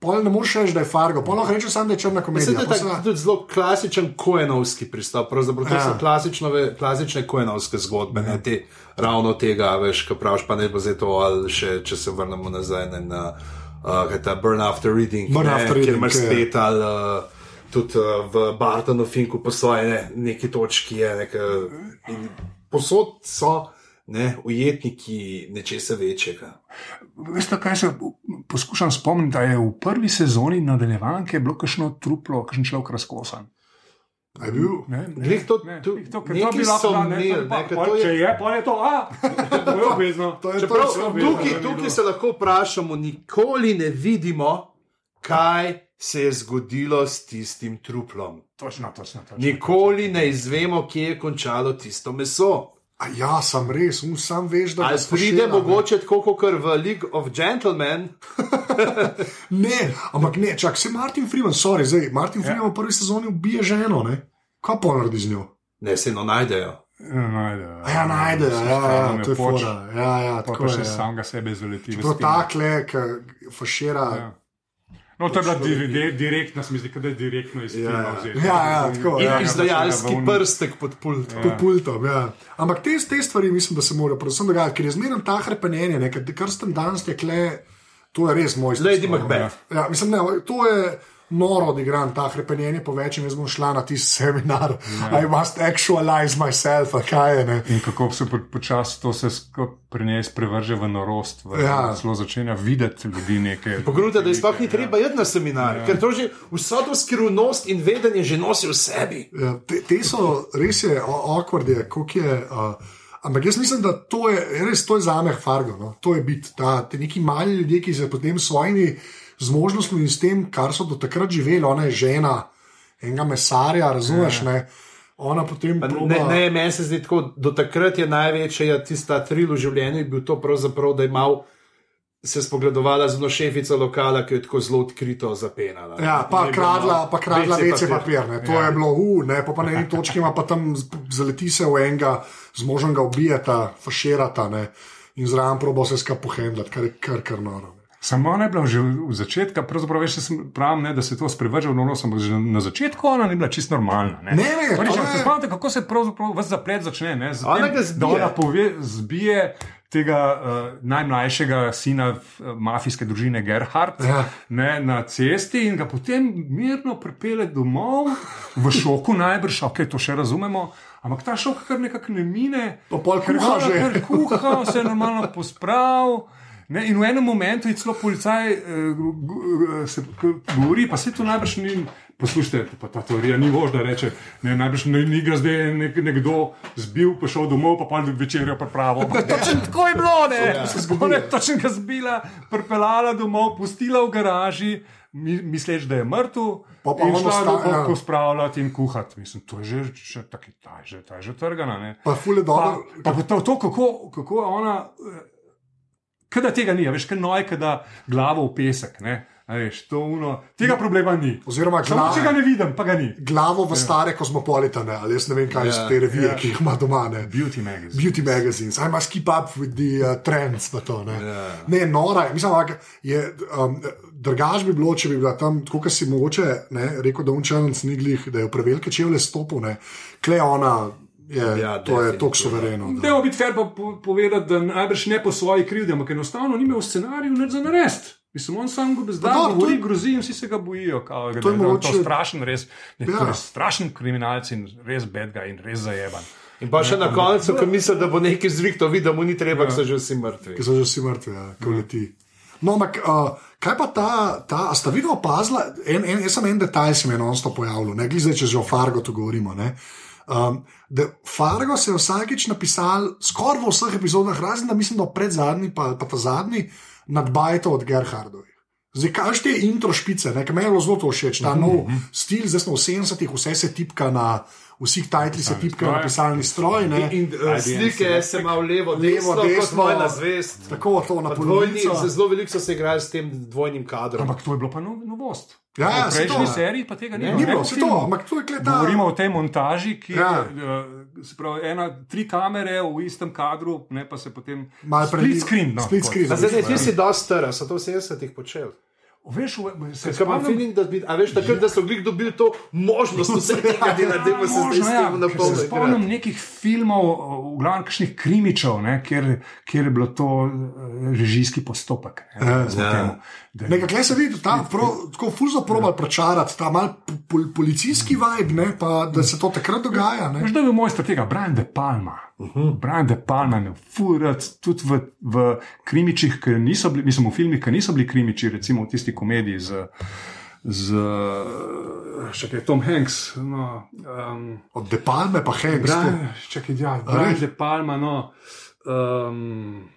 D: pol ne moreš reči, da je fargo, pol lahko rečeš samo, da je črna
A: Mislim,
D: komedija.
A: da je
D: Pol se
A: tak,
D: lahko-
A: tudi zelo klasičen kojenovski pristop. Pravzaprav to
D: Ja.
A: so klasično, ve- klasične kojenovske zgodbe, ne te ravno tega, veš, kaj praviš, pa ne bo zdaj to, ali še če se vrnemo nazaj ne, na uh, ta Burn After Reading,
D: Burn
A: ne,
D: After
A: kjer
D: Reading,
A: imaš
D: ja.
A: spet ali. Uh, Tudi uh, v Bartonu, Finku, postoje ne, neki točki, je, neka, in posod so ne, ujetniki nečesa večjega.
B: Veste, kaj se poskušam spomniti, da je v prvi sezoni nadaljevanke bilo kakšno truplo, kakšen človek razkosan.
D: A je bil?
B: Ne, ne,
A: Glih to-
B: ne,
A: tu-
B: glih to, ker to
A: nekaj
B: bi lahko
A: so
B: bila, ne, to bi
A: imeli,
B: pa-
A: ne, ker
B: pol-
A: to je-
B: Če je, pa je to, a, to je obvezno.
D: To je
A: Čeprav,
D: to, vse obvezno, da
A: tukaj,
D: bi bilo.
A: tukaj se lahko vprašamo, nikoli ne vidimo, kaj se je zgodilo s tistim truplom.
B: Točno, točno. točno.
A: Nikoli ne izvemo, kje je končalo tisto meso.
D: A ja, sem res, um, sam veš, da
A: Ali
D: ga
A: pride
D: spošila, ne.
A: mogoče tako kot v League of Gentlemen,
D: Ne, ampak ne, čak se Martin Freeman, sorry, zdaj Martin Freeman v prvi sezoni ubije ženo, ne? Kaj pa naredi z njo?
A: ne se eno najdejo.
B: Ja, najde.
D: A ja, najde, ja, ja, ja, to je fora. Ja, ja,
B: Pa
D: tako
B: pa
D: je.
B: še
D: ja.
B: samega sebe zaleti. v
D: Prav
B: spino.
D: takle, ki fašira.
B: Ja. No, to je bila di- di- direktna, se mi zdi, kot da je direktno iz filma.
A: ja.
B: vzeta.
D: Ja, ja, tako,
A: In
D: ja.
A: izdajalski prstek pod pultom.
D: pod pultom. Ja. Ampak te, te stvari mislim, da se morajo predvsem dogajati, ker je zmerno ta hrepenenje, ne, ker- kar sem danes tekle, to je res moj stil.
A: Lady Macbeth.
D: Ja, mislim, ne, to je. Noro odigran ta hrepenenje, po večjem jaz bom šla na tisti seminar,
B: Ja.
D: I must actualize myself, a kaj je. Ne?
B: In kako se po- počasi to se sk- pri njej sprevrže v norost, v,
D: Ja.
B: ja. zelo začne videti ljudi nekaj.
A: Pogrunite, da je sploh ni
B: nekaj,
A: treba iti na seminar, ja. ker to že vso to skrivnost in vedenje že nosi v sebi.
D: Ja, te, te so res je, okvard je, kako je. Uh, ampak jaz mislim, da to je ja, res to je za me fargo. No? To je biti ta te neki mali ljudje, ki se potem s svojimi zmožnostmi in s tem, kar so do takrat živeli, ona je žena enega mesarja, razumeš? Ne? Ona potem
A: Pa
D: proba,
A: Ne, ne, meni se zdi tako, do takrat je največja tista tril v življenju, je bil to pravzaprav, da je mal se spogledovala z eno šefico lokala, ki je tako zelo odkrito zapenala. no,
D: Ja,
A: In
D: pa
A: je bilo
D: kradla,
A: malo
D: pa kradla
A: WC
D: vece papir. Ne. To ja. je bilo u, ne, pa, pa na eni točki ima pa tam z- zaleti se v enega, zmožen ga ubijata, faširata ne, in zraven proba se skapohendati, kar je kar, kar noro. Ne.
B: Samo ona je bila že v začetku, pravzaprav veš, jaz sem pravim, ne, da se to sprevrže v norost, ampak že na začetku ona ni bila čisto normalna. Ne,
D: Ne, ne,
B: Oni,
D: to
B: če
D: je-
B: se spomnite, kako se pravzaprav vse zaplet začne. Ne, z
A: Ona
B: tem,
A: ga zbije.
B: Da ona pove, zbije tega uh, najmlajšega sina uh, mafijske družine Gerhardt
D: Ja.
B: ne, na cesti in ga potem mirno pripelje domov, v šoku najbrž, ok, to še razumemo. Ampak ta šok kar nekako ne mine,
D: Pa pol
B: Ker
D: kuha
B: ona
D: že.
B: kar kuha, vse je normalno pospravil. Ne, in v enem momentu je celo policaj, eh, gu- gu- eh, se k- govori, pa se to najbrž ni. Poslušajte, pa ta teorija ni možna, reče. Ne, najbrž ni, ni ga zdaj nek, nekdo zbil, pa šel domov, pa pa večerjo pripravo. Pa Točno tako je bilo,
D: Ja.
B: ne. Ona je točno ga zbila, pripeljala domov, pustila v garaži, mi, misleč, da je mrtev.
D: Pa pa
B: in
D: on
B: šla
D: osta- ja.
B: domov pospravljati in kuhati. Mislim, to je že, že taki, ta je že, ta je že trgana. Ne.
D: Pa ful je dobro.
B: Pa, pa to, to kako, kako je ona, kada tega ni, a veš, kaj noj, kada glavo v pesek. Ne? a Veš, to uno, tega problema ni.
D: Oziroma,
B: Samo če ga
D: glava,
B: ne vidim, pa ga ni.
D: glavo
A: Ja.
D: v stare kozmopolitane, ali jaz ne vem, kaj so te revije, ki jih ima doma. Ne.
B: Beauty magazine.
D: Beauty magazines, I must keep up with the uh, trends. pa To, ne.
A: Ja.
D: ne, nora je. Mislim, ampak je um, drugač bi bilo, če bi bila tam, tako kot si mogoče ne, rekel, da unčanc ni glih, da je v prevelike čevlje stopil, ne. kle ona. Je,
A: Ja,
D: ja, to je
A: definitivno.
D: tako suvereno. da-
B: Dajmo biti fer pa po- povedati, da najbrž ne po svoji krivdi, ampak enostavno ni imel scenarij nič za narest. Mislim, on sam ga
D: Pa
B: bezdan
D: dobro, to
B: govori,
D: je-
B: grozi in vsi se ga bojijo. Kao,
D: To
B: to
D: je
B: je mogoče...
D: mogoče-
B: strašen, res, ne,
D: Ja.
B: to je strašen kriminalec in res bedga in res zajeban.
A: In pa še na koncu, ko misli, da bo nekaj zvihto, vidi, da mu ni treba,
D: Ja.
A: ker so že vsi
D: ki
A: mrtvi.
D: so že vsi mrtvi, ja, ki leti. No, ampak uh, kaj pa ta, ta a sta vidno opazila, en, en, jaz sem en detajl, se mi je enostavno pojavljal, ne glede zdaj, če že o Fargo tu govorimo. Ne? Um, da Fargo se je vsakič napisal, skoraj v vseh epizodah, razen da mislim, da pred zadnji, pa, pa ta zadnji, nad Bajto od Gerhardovih. Zdaj, kaj še te
A: Mhm.
D: intro špice, ne, ki me je bilo zelo to všeč, ta nov stil, zdaj smo v 70-ih, vse se tipka na vsi tajtli se tipkajo na
B: stroj.
D: pisalni stroj. Ne?
A: In, in uh, slike se ima v levo,
D: Levo,
A: desno, levo,
D: desno,
A: desno kot na zvest.
D: Tako to na
A: Pa Dvojni,
D: polovico.
A: se zelo veliko so se igrali s tem dvojnim kadrom.
B: Ampak to je bilo pa no, novost.
D: Ja, ja,
B: v
D: saj
B: prejšnji
D: to.
B: seriji pa tega ni
D: Ni bilo, vse to, ampak to je kleta.
B: Govorimo o tej montaži, ki
D: Ja.
B: ja. je se pravi, ena, tri kamere v istem kadru, ne pa se potem.
D: Malo
B: split
D: predi-
B: screen. No,
D: split
B: tako.
D: screen.
A: A Zdaj, ne, ti si dosti star, a so to v 70-ih počeli.
B: Veš, v- se
A: Ker imam
B: spomnim,
A: feeling, da, bi, a veš, takrat, da so glih dobili to možnost vsega dela, da se zdaj
B: možno,
A: s
B: ja,
A: tem
B: ker se
A: napolnijo.
B: Spomnim nekih filmov, o, v glavnem kakšnih krimičev, ne, kjer, kjer je bilo to eh, režijski postopek. Ne,
A: ja.
B: ja.
D: Eh, Nekaj se vidi, tam pro, tako fuzo probal prečarati, ta mal pol, policijski vibe, ne, pa, da se to takrat dogaja. Ne.
B: Veš, da je bil mojster tega, Brian De Palma. Uh
D: Mhm.
B: -huh. Brian De Palma je furat tudi v, v krimičih, ki niso bili, mislim, v filmih, ki niso bili krimiči, recimo v tisti komediji z, z eh, še kaj, Tom Hanks. No, um,
D: Od Depalme pa hej,
B: Brian, še kaj, ja, Brian
D: res?
B: De Palma, no. Um,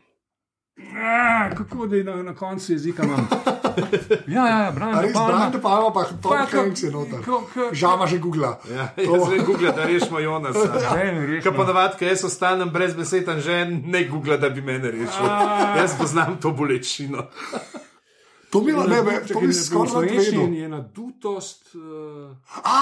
B: A, kako da je na, na koncu jezika imam? Ja, ja, ja Brian De
D: Res,
B: Palma.
D: Brian Depalma pa Tom
B: Pa, ko-
D: Hanks je noter.
B: ko- ko-
D: Žama že googla.
A: Ja, jaz zdaj googlam, da rešimo Jonasa.
B: Zdaj mi reš,
A: Ker
B: no.
A: ponavadi, ker jaz ostanem brez besed, že ne googla, da bi mene rešil. Jaz poznam to bolečino.
D: To mi je, ne, ne, to
B: Čakaj,
D: mi
B: ne,
D: je skoraj
B: v
D: vedel.
B: slovenščini je nadutost. Uh...
D: A,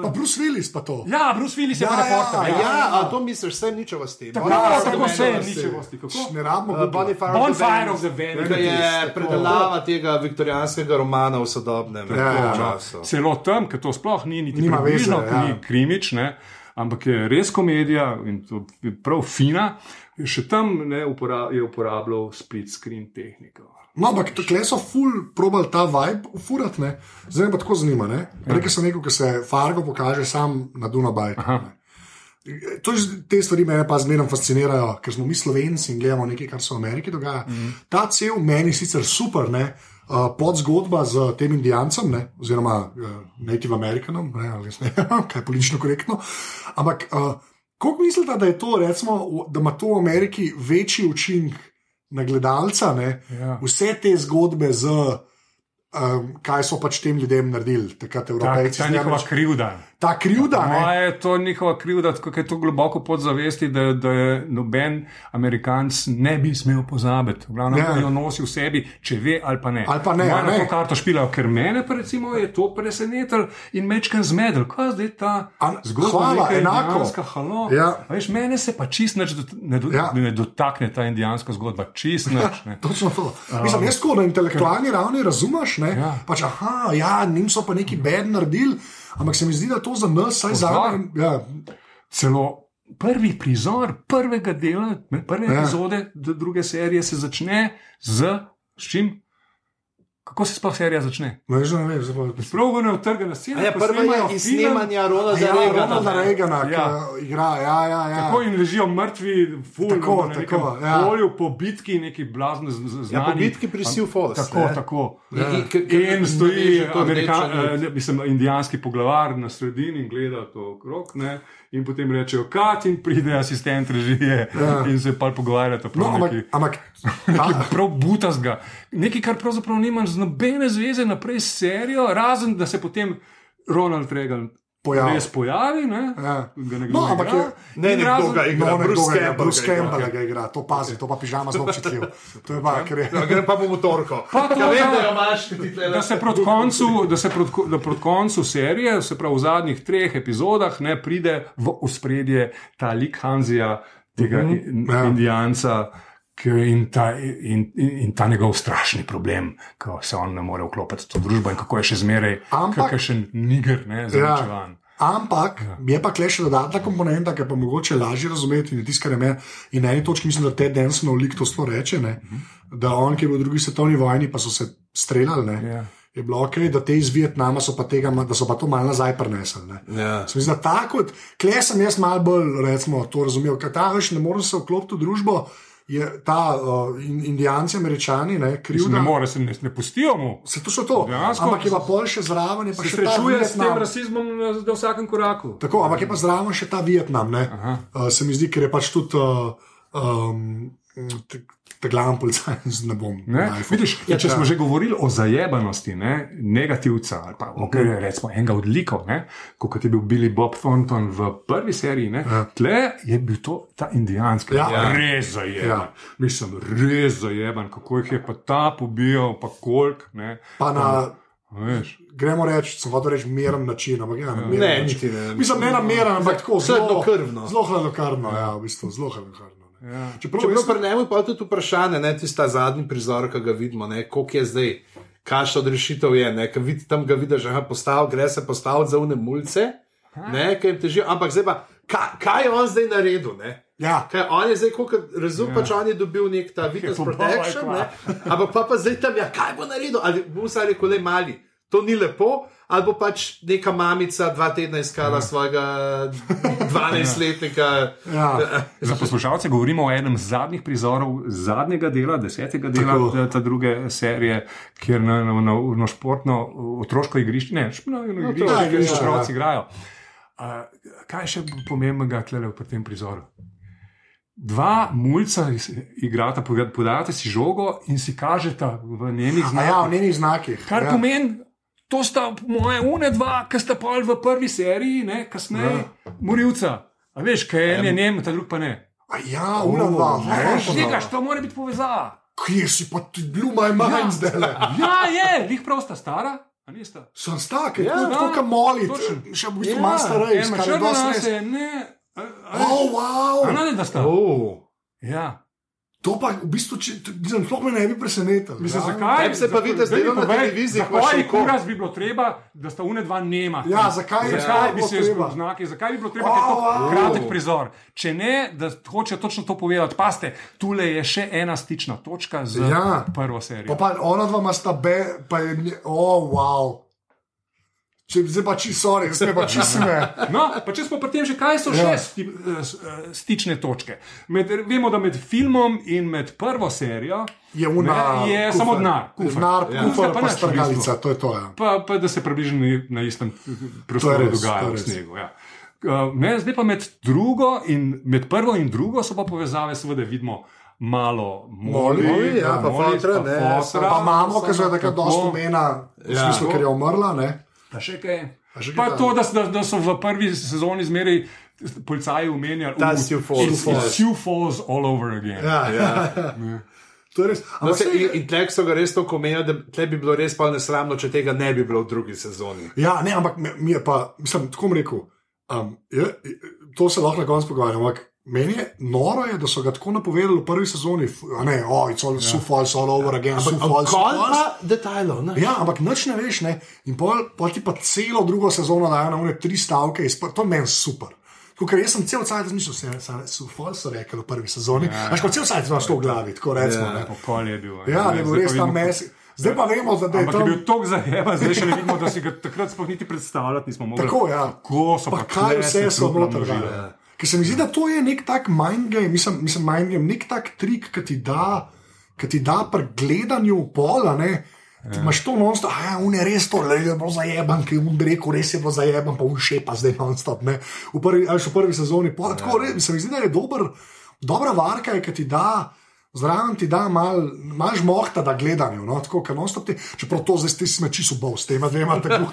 D: pa Bruce Willis pa to.
B: Eh. Ja, Bruce Willis je
D: Ja,
B: pa
D: ja,
B: reporter.
D: ja.
B: Ja,
A: Ja, a to misliš, sem ničeva s tem.
B: Tako,
A: Ona se
B: tako
A: meni
B: se je
A: vas-
B: ničevosti. kako?
D: Ne
B: Eh,
D: rabimo
A: Uh,
D: Googla.
A: Bonfire,
B: Bonfire
A: of the Vanities, ki
B: Vanities,
A: je
B: tako.
A: predelava tega viktorijanskega romana v sodobnem
D: ja.
A: času.
B: Celo tam, ker to sploh ni niti
D: Nima
B: približno,
D: veze,
B: veze, ja.
D: ja.
B: ni krimič, ne, ampak je res komedija in to je prav fina. Še tam ne, upora, je uporabljal split screen tehniko.
D: No, ampak tukaj so ful probal ta vibe ufurat, ne. Zdaj me pa tako zanima, ne. Rekel sem nekaj, ko se Fargo pokaže sam na Dunabaj. To, je z- te stvari me pa zmerno fascinirajo, ker smo mi slovenci in gledamo nekaj, kar se v Ameriki dogaja.
B: Mhm.
D: Mm -hmm. Ta cel meni je sicer super, ne, uh, pod zgodba z tem Indijancem, ne, oziroma uh, Native Americanom, ne, ali jaz ne vem, kaj je politično korektno. Ampak uh, koliko mislite, da je to, recimo, v- da ima to v Ameriki večji učinek na gledalca, ne,
B: Ja.
D: vse te zgodbe z. Um, kaj so pač tem ljudem naredili, takrat
B: Tak,
D: evropejci?
B: ta
D: zdaj
B: njihova
D: Američ-
B: krivda.
D: ta krivda, ne,
B: Moja Ja, je to njihova krivda, tako je to globoko podzavesti, da, da je noben Amerikanc ne bi smel pozabiti. Glavno,
D: Ne.
B: da jo nosi v sebi, če ve ali pa ne.
D: Ali pa ne,
B: Moja
D: ne.
B: na to karto špilajo, ker mene pa recimo je to presenetilo in mečken zmedel. Kaj je zdaj ta
D: A,
B: zgodba?
D: hvala,
B: neka
D: enako.
B: indijanska, halo?
D: Ja.
B: A Veš, mene se pa čist nič dot- ne, do,
D: Ja.
B: ja. ne dotakne ta indijanska zgodba. Čist nič. Ne.
D: Točno to. Mislim, jaz tako na intelektualni ravni razumeš, ne? Ja.
B: Ja.
D: Pač, aha, ja, njim so pa neki bed naredili, ampak se mi zdi, da to za nas, saj za
B: Pozor.
D: nas, ja,
B: celo prvi prizor prvega dela, ne, prve
D: Ja.
B: ja. epizode d- druge serije se začne z, z čim? Kako se sploh serija začne?
D: ne že ne vem, zdaj pa.
B: Pravno je utrgana scena.
A: A Ja,
B: ko
A: prva
B: snemajo
A: je iz
B: film,
A: snemanja Rona za
D: Ja, Ronalda
A: Reagana.
D: Reagana, ki
B: Ja.
D: igra, ja, ja, ja.
B: Tako in ležijo mrtvi, fulno
D: Tako,
B: na
D: tako,
B: tako,
D: ja.
B: ja. polju, po bitki, neki blazne znanje.
A: Ja, po bitki pri Sioux Falls,
B: Tako,
A: ne.
B: tako.
A: Ja. In- ker- ker
B: In stoji
A: naveže to
B: Amerika,
A: rdečo nit.
B: eh, ne, mislim, indijanski poglavar na sredini in gleda to okrog. Ne? In potem rečejo, kat in pride asistent režije ja. in se pa pogovarjata. prav
D: No, ampak,
B: neki-
D: ampak
B: Nekaj
D: ta,
B: prav butastega, nekaj, kar pravzaprav nima z nobene zveze naprej s serijo, razen da se potem Ronald Reagan
D: Pojavi.
B: res pojavi. Ne?
D: Ja.
B: Ga nekdo
D: No, ampak
B: igra.
D: je-
A: Ne,
B: In
A: nekdo
B: razen-
A: ga igra.
D: no,
A: Bruce
D: nekdo ga
A: Campbell
D: Bruce
A: ga igra.
D: Campbell ga igra, to pazi, to pa pižama zelo občutljiv. To je pa, ker je.
A: Ja, Grem pa po motorko.
B: Pa to,
A: Ja, vem,
B: da-
A: da jo imaš, ti tle-
B: Da se proti koncu, da se proti, ko- da proti koncu serije, se pravi v zadnjih treh epizodah, ne pride v ospredje ta lik Hanzija, tega mm -hmm.
D: Ja.
B: ja. Indijanca. ki- In ta, in, in, in ta njegov strašni problem, ko se on ne more vklopiti v to družbo, in kako je še zmeraj,
D: Ampak- Ja.
B: kakšen še niger, ne zaničevan. Ja.
D: Ampak je pa klej še dodatna komponenta, ki je pa mogoče lažje razumeti. In tiskane me in na eni točki mislim, da te danes na lik to sploh reče, ne,
B: Mhm.
D: da on, ki je bil v drugi svetovni vojni, pa so se streljali. Ne,
B: Ja.
D: Je bilo ok, da te iz Vietnama so pa, tega, ma- da so pa to malo nazaj prenesli. ne.
A: Ja.
D: Se mi zdi, da tako, klej sem jaz malo bolj recimo, to razumel, ker ta več ne morem se vklopiti v družbo. Je ta uh, in, indijanci, američani, ne, krivda.
B: Mislim, Ne more se, ne, ne pustijo mu.
D: Se to so to.
B: Dejansko
D: ampak je pa pol še zraven, je pa
B: Se
D: še ta
B: srečuje s tem
D: Vietnam.
B: rasizmom na, na vsakem koraku.
D: Tako, ampak je pa zraven Eh, še ta Vietnam. ne. Uh, se mi zdi, ker je pač tudi uh, um, t- ta glavni policaj z ne bom.
B: Ne?
D: knifal.
B: Vidiš, ja, če
D: Ja.
B: smo že govorili o zajebanosti ne? negativca ali pa okay, recimo, enega od likov, ne, ko- kot je bil Billy Bob Thornton v prvi seriji, ne, ja. tle je bil to ta indijanski,
D: Ja.
B: ja. res zajeban. Ja.
D: Ja.
B: Mislim, res zajeban, kako jih je pa ta pobijal, pa kolik. Ne,
D: Pa na,
B: veš.
D: gremo reči, sem hotel reči, miren način. Ampak, ja, na miren
A: Ne,
D: način.
A: niti ne.
D: Mislim, ne na miren, ampak tako zelo
A: Hladnokrvno.
D: Zelo hladnokrvno, ja, v bistvu, zelo hladnokrvno.
B: Ja.
D: ne. Čeprav,
A: Čeprav
D: jaz-
A: pri njemu je pa tudi vprašanje, ne tista zadnji prizor, ki ga vidimo, ne, koliko je zdaj, kakšna odrešitev je. Ne, ker vid, tam ga vidiš, da postav, gre se postaviti za unemulce, ne, ki jim težijo. Ampak zdaj pa, kaj, kaj je on zdaj naredil? Ne?
D: ja,
A: Kaj, on je zdaj, koliko razumem, ja. pač on je dobil nek ta videz
B: pa
A: protection,
B: boj,
A: ne, ampak pa, pa zdaj tam, ja, kaj bo naredil, ali bo vsaj rekel, le mali, to ni lepo, ali bo pač neka mamica dva tedna iskala ja. svojega 12-letnika.
D: ja.
B: Za poslušalce govorimo o enem zadnjih prizorov zadnjega dela, desetega dela eh,
D: Tako.
B: te- te druge serije, kjer na, na, na, na športno, otroško igrišče, ne, šp- na, na igrišče,
D: ja,
B: kjer
D: igrišče,
B: otroci igrajo. A, kaj je še pomembnega tlele pri tem prizoru? Dva mulca is- igrata, poda- podajata si žogo in si kažeta v njenih
D: A ja,
B: znakih.
D: v njenih znakih.
B: Kar
D: ja.
B: ja. pomeni, to sta moje une dva, ki sta pol v prvi seriji, ne, kasneje, ja. morilca. A veš, kaj en je njem, ta drug pa ne.
D: A ja, ulava, veš,
B: Žvigaš, to mora biti povezava.
D: kje si pa ti bil, maj manj zdaj le.
B: Ja, je, jih prav sta stara, a nista.
D: Sem stak, je
A: Ja,
D: ja, tako, kot moli,
B: točno.
D: še v bistvu
A: Ja,
D: ja, master race,
B: Ena
D: kar je
B: črna
D: dosti
B: nas
D: res.
B: je, ne. a- a veš,
D: Oh, wow.
B: A ne, da sta.
A: Oh.
B: Ja.
D: To pa v bistvu, če nisem sploh me ne bi presenetil.
B: Mislim,
D: ja.
B: zakaj?
A: tebi se pa vidi, da
B: Zdaj mi
A: zdelo na
B: povej,
A: televiziji, ko imaš
B: Zakaj
A: oko.
B: kuras bi bilo treba, da sta une dva nema?
D: Ja, zakaj je
B: zakaj bi
D: to bilo
B: se
D: treba?
B: znaki, zakaj bi bilo treba, da je
D: Au,
B: to
D: au.
B: kratek prizor? Če ne, da hočejo točno to povedati, paste, tule je še ena stična točka z
D: Ja.
B: prvo serijo.
D: Pa, pa ona dva ima sta be, pa je, nje- oh, wow. Če zdaj pa čisto, sorry, zdaj pa čisto me.
B: No, pa če smo pri tem, že kaj so še
D: Ja.
B: sti, s- eh, stične točke. Med, vemo, da med filmom in med prvo serijo
D: Je una,
B: ne, je
D: kufer.
B: samo denar, kufr.
D: Denar,
B: Ja.
D: kufr,
B: Kufra nič
D: pa
B: v bistvu.
D: strgalica, to je to. Ja.
B: Pa, pa da se približno ni- na istem prostoru
D: To je res, to
B: dogaja
D: je
B: v
D: res.
B: snegu. Ja. Uh, Ne, zdaj pa med, drugo in, med prvo in drugo so pa povezave, seveda vidimo malo moli,
A: Moli, ja, pa
B: moli,
A: fotra, ne,
B: fotra,
D: Pa mamo, ki je tako
B: tako.
D: dosto umena, v
A: Ja.
D: smislu, ker je umrla. Ne?
B: Pa še kaj.
D: Pa še kaj
B: Pa
D: tam.
B: to, da, s- da, da so v prvi sezoni zmeraj policaji umenjali,
A: Ta
B: "Uh,
A: Sioux Falls."
B: it's- it's Sioux Falls all over again.
D: Ja, ja. to je res.
A: No,
D: Ampak
A: se, in
D: saj-
A: in tleh so ga res tako omenili, da tle bi bilo res pa nesramno, če tega ne bi bilo v drugi sezoni.
D: Ja, ne, ampak me- mi je pa, mislim, tako bom rekel. Um, je, je- to se lahko na koncu pogovarjamo. Ampak meni je noro, je, da so ga tako napovedali v prvi sezoni, f- a ne, oh, it's
B: Ja.
D: all so false, all over again, so
A: Konj
D: false.
A: pa detajlov. ne.
D: Ja, ampak nič ne veš, ne. In pol, pol ti pa celo drugo sezono dajo na une tri stavke, iz, pr- to je meni super. Tako, ker jaz sem cel cel cel cel cel cel fol so rekel v prvi sezoni. Ja, Až kot cel cel cel cel v glavi, tako recimo. Ja, ne.
B: Pokol je bil.
D: ja
B: ne,
D: je bil
B: zdaj
D: res
B: pa vidimo-
D: ta mes. Zdaj pa vemo, da da je
B: Ampak je
D: tam.
B: bil tako zajeban, zdaj še ne vidimo, da si ga takrat sploh niti predstavljati nismo mogli.
D: Tako, ja.
B: Kako so
D: Pa
B: pa,
D: kaj
B: tle
D: vse
B: se
D: so ja.
B: trupla
D: noter
B: množile.
D: dali. Ker se mi zdi, da to je nek tak mind game, mislim, mislim mind game, nek tak trik, ki ti da, ki ti da pri gledanju v pola. Ne, Ti imaš to non-stop, a ja, un je res to, le je bilo zajeban, ki je un rekel, res je bilo zajeban, pa un še pa zdaj non-stop. ne. V prvi, ali še v prvi sezoni. Po, tako res, se mi zdi, da je dober, dobra varka, je, ki ti da. Zraven ti da malo mal žmohta, da gledanju, no, tako kot non-stop. ti- Čeprav to zdaj ti si me čisto bal s tema dvema, tako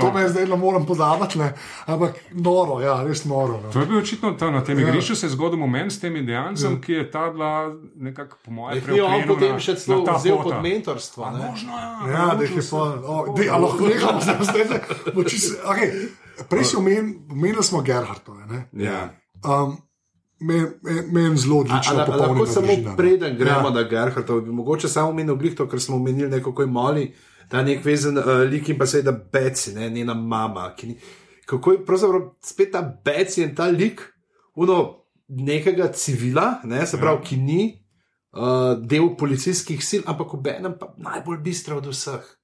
D: da me zdaj ne morem pozabiti, ne. ampak noro, ja, res noro. No.
B: To je bil očitno ta, na
D: Ja.
B: tem igrišču se je zgodil moment s tem indijancem, ki je ta dva nekako, po mojem,
A: Jih je on potem še celo vzel pod
B: meni.
A: mentorstvo. ne.
D: Ja, da jih je fajn. Da, ja, lahko nehamo zdaj, zdaj, zdaj. bo čisto- okej. Prej si omen- omenili smo Gerhardove. ne.
A: Ja.
D: Um, Meni men zelo
A: A,
D: odlično
A: a, a lahko
D: popolnjena
A: samo
D: družina,
A: družina,
D: no.
A: preden gremo ja.
D: Ja.
A: na Gerharda, bi mogoče samo omenil glih to, ker smo omenili neko, ko je moli, ta nek vezen uh, lik in pa seveda Beci, ne, njena mama. ki Ni, kako je pravzaprav spet ta Beci in ta lik, uno nekega civila, ne, se pravi, ja. ki ni. Uh, del policijskih sil, ampak ob enem pa najbolj bistra od vseh.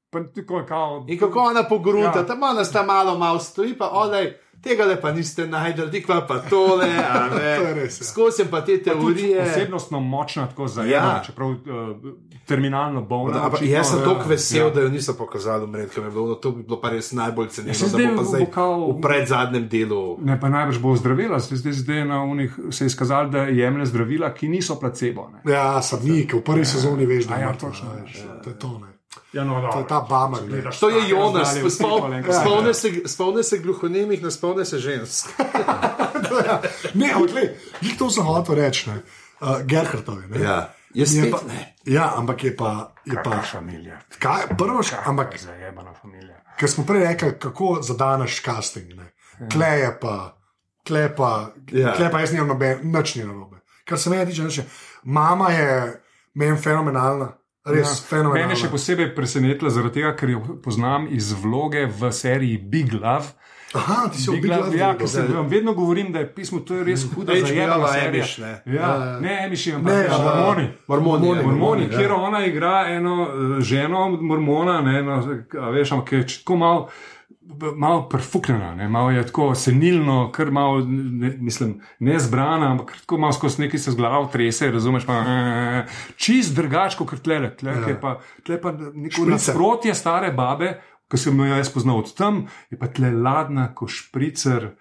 A: In kako ona pogrunta, ja.
B: Ja.
A: tam ona sta malo, malo stoji, pa olej, tega le pa niste najdel, dikva pa tole. a ne.
D: To je res, ja.
A: Skozi pa te
B: Tudi
A: teorije.
B: Osebnostno močna, tako zajema,
A: Ja.
B: ja. čeprav uh, terminalno bolna.
A: Da, ampak
B: očitno,
A: jaz sem
B: ja.
A: tako vesel, No, ja. da jo niso pokazali, mred, ker bi bilo, to bi bilo pa res najbolj cenjeno.
B: Ja, se
A: da
B: zdaj
A: bo pa zdaj
B: vokal-
A: v predzadnjem delu.
B: Ne, pa najbrž bo ozdravila, se zdaj, zdaj na unih se je izkazalo, da jemlje zdravila, ki niso placebo. Ne.
D: Ja, sabnik, v prvi sezoni veš, da
B: A ja,
D: mrtev,
B: točno,
D: a veš, To je to. Ne.
B: Ja, no,
D: To je ta bummer, ne.
A: To je Jonas,
B: ja.
D: Ja,
A: spomni se, spomni se gluhonemih, ne spomni se žensk.
D: Ne, odle, jih to sem hotel reči, ne. uh, Gerhardove. Ne.
A: Ja, jaz
D: Je
A: spet
D: pa,
A: ne.
D: ja, ampak je pa. Je pa
B: familija.
D: kaj, prvo, še- ampak
B: Ampak zajemana familija.
D: Ker smo prej rekli, kako zadaneš casting. Ne?
B: Ja.
D: Kle je pa, kle pa,
A: Ja.
D: ja. kle pa jaz nimam noben, nič ni narobe. Kar se meni tiče, reče, mama je meni fenomenalna, res ja. fenomenalna.
B: Mene je še posebej presenetila, zaradi tega, ker jo poznam iz vloge v seriji Big Love.
D: Aha, ti si
B: Big Love,
D: obiglal,
B: ja, ker se vam vedno govorim, da je pismo, to je res huda
A: HBO
B: zajebana serija.
A: Amish, ne?
B: Ja, ne, Emiš,
D: Ne,
B: ampak ja,
D: ja.
B: Mormoni.
A: Mormoni, ja,
B: Mormoni,
A: ja.
B: kjer ona igra eno eh, ženo, mormona, ne, no, a veš, ampak je č- tako malo. b- Malo prfuknjena, ne, malo je tako senilno, kar malo, ne, mislim, nezbrana, ampak kar tako malo skozi neki se z glavo trese, razumeš? Pa, eh, čist drugačko, kot tle, tle ja. je pa, tle pa neko
D: Šprica.
B: nasprotje stare babe, ki sem jo jaz poznal od tam, je pa tle ladna, ko špricer,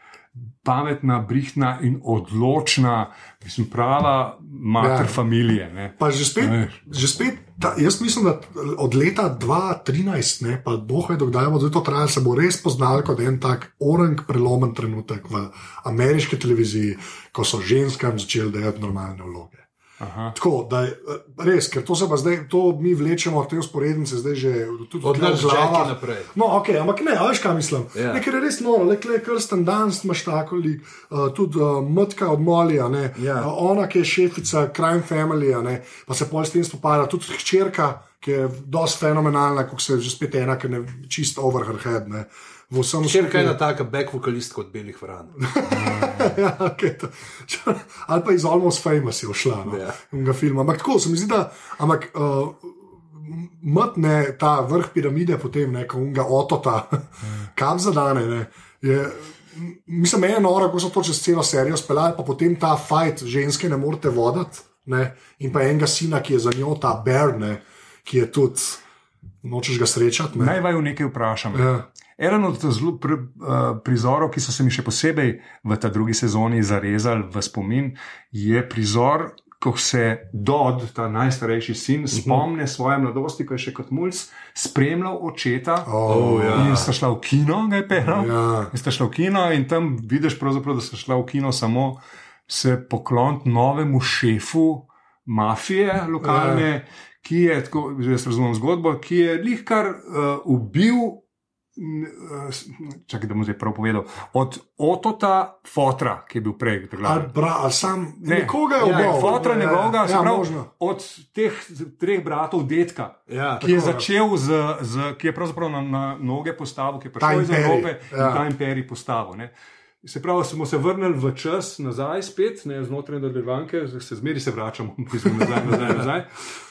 B: pametna, brihna in odločna, mislim, prava mater
D: Ja.
B: ja. familije. Ne.
D: Pa že spet,
B: Ne.
D: že spet ta, jaz mislim, da od leta 2013, ne, pa boh ve, dokdaj bo to trajalo, se bo res poznal kot en tak orang prelomen trenutek v ameriški televiziji, ko so ženskam začeli dajati normalne vloge.
B: Aha.
D: Tako da je eh, res, ker to se pa zdaj, to mi vlečemo, te usporednice zdaj že tudi
A: Od
D: tukaj
A: nas
D: v glavah.
A: Jackie naprej.
D: No, ok, ampak ne, a veš kaj mislim.
A: Ja.
D: Yeah. Ker je res noro, le kaj krsten danes imaš tako lik, uh, tudi uh, mrtka od Molija,
A: Ja.
D: yeah. uh, ona, ki je šefica Crime Family, a ne, pa se pol s tem spopada, tudi hčerka, ki je dosti fenomenalna, kot se že spet ena, ki je čist over her head. Ne. V vsem
A: Še
D: skupaj-
A: kaj na taka back vokalist kot Belih Vran.
D: ja, okay, to, ali pa iz Almost Famous je šla, no,
A: Ja.
D: yeah. film. Ampak tako se mi zdi, da ampak, uh, mrtne ta vrh piramide, potem neko unga otota, kam zadane. Ne, je, m- mislim, meni je noro, ko so to čez celo serijo speljali, pa potem ta fajt ženske ne morete voditi. Ne, in pa enega sina, ki je za njo ta Berne, ki je tudi, nočeš ga srečati. ne.
B: Naj vaju nekaj vprašam.
D: Ja.
B: Eden od zelo pri, uh, prizorov, ki so se mi še posebej v ta drugi sezoni zarezali v spomin, je prizor, ko se Dodd, ta najstarejši
D: Mhm.
B: sin, spomne svoje mladosti, ko je še kot mulj spremljal očeta.
D: Oh,
A: ja.
B: In sta šla v kino, ga je peral.
D: Ja.
B: In sta šla v kino, in tam vidiš, pravzaprav, da sta šla v kino samo se pokloniti novemu šefu mafije, lokalne,
D: Ja.
B: ki je, tako jaz razumem zgodbo, ki je lih kar uh, ubil. n- eh, s- Čakaj, da mu zdaj prav povedal. Od Otota Fotra, ki je bil prej, kot
D: Ali, bra, ali sam, ne. nekoga je
B: ja,
D: obogal.
B: Fotra, njegovega, se
D: ja,
B: pravi,
D: možno.
B: od teh treh bratov, detka,
A: Ja.
B: ki je
D: Tako, ja.
B: začel z, z ki je pravzaprav na, na noge postavil, ki je
D: Ta
B: prišel iz
D: imperij,
B: Evrope
D: ja.
B: in ta imperij postavil. Ne. Se pravi, smo se vrnili v čas nazaj, spet ne, znotraj nadaljevanke, se zmeri se vračamo, mislim, nazaj, nazaj, nazaj.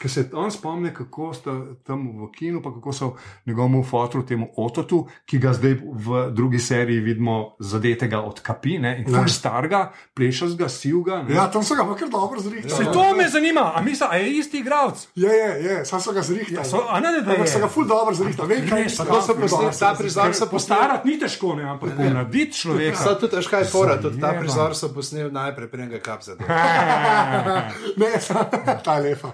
B: Ker se on spomne, kako sta tam v kinu, pa kako so njegovemu fotru, temu ototu, ki ga zdaj v drugi seriji vidimo zadetega od kapine in
D: Ja.
B: ful starega, plešastega, sivga. ne.
D: Ja, tam so ga pa kar dobro ja. zrihtali.
B: Se to me zanima, a misli, a je isti igralec?
D: Je, je, je, ja, sam so ga zrihtali.
B: Ja, so- a ne, ne, da
D: Ampak
B: je.
D: so ga ful dobro zrihtali. Vem, kaj
B: Res,
D: mislim. ja,
B: pa to so
D: Ful
A: posneli,
D: dobro so
A: ta
D: ga
A: prizor-
D: zrihtali.
A: so
B: Postarati ni težko, ne, ampak ponaditi človeka.
A: Sad tudi, veš kaj je fora, tudi ta
B: Zajebano.
A: prizor so posneli najprej, preden ga kap zadel.
D: Ne, ta je lepa.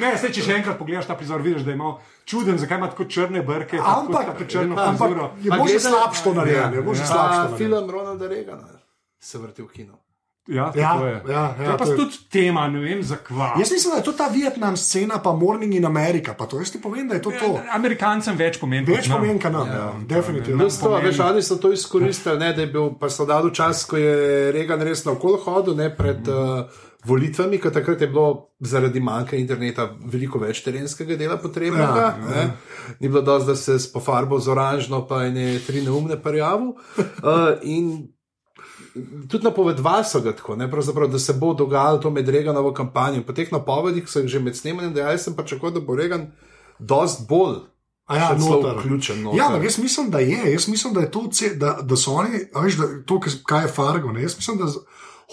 B: Ne, se, če še enkrat pogledaš ta prizor, vidiš, da ima čuden, zakaj ima tako črne brke, pa tako-
D: Ampak, ja,
B: tako črno
D: ampak
B: frizuro.
D: je
A: Pa
D: bolj že
A: gledaj-
D: slabš to narejen. Je bolj že slabš to
A: Pa ja.
D: narejen.
A: film Ronalda Reagana se vrti v kino.
B: Ja, tako
D: Ja,
B: je.
D: ja, ja,
B: to je pa
D: to je-
B: tudi tema, ne vem zakaj.
D: Jaz mislim, da je to ta Vietnam scena, pa Morning in Amerika. Pa to jaz ti povem, da je to
B: Ja,
D: to.
B: Amerikancem več pomeni. kot
D: Več
B: nam.
D: pomen, kaj nam, ja, definitivno.
A: Plus to, veš, oni so to izkoristili, ne, da je bil pa so dal čas, ko je Reagan res na okol hodil, ne pred
D: Mhm.
A: uh, volitvami, ker takrat je bilo zaradi manjka interneta veliko več terenskega dela potrebnega.
D: Ja,
A: Ja, ja. Ni bilo dosti, da se je pofarbo z oranžno, pa je ne tri neumne prijavil. Uh, in Tudi napovedovali so ga tako, ne, pravzaprav, da se bo dogajalo to med Reganovo kampanjo. Po teh napovedih so jih že med snemanjem dejali, sem pa čakal, da bo Regan dosti bolj
D: A ja,
A: Še celo
D: noter.
A: vključen noter.
D: Ja, ampak jaz mislim, da je. Jaz mislim, da je to, ce- da, da so oni, a veš, da, to, kar- kaj je Fargo. Ne? Jaz mislim, da z-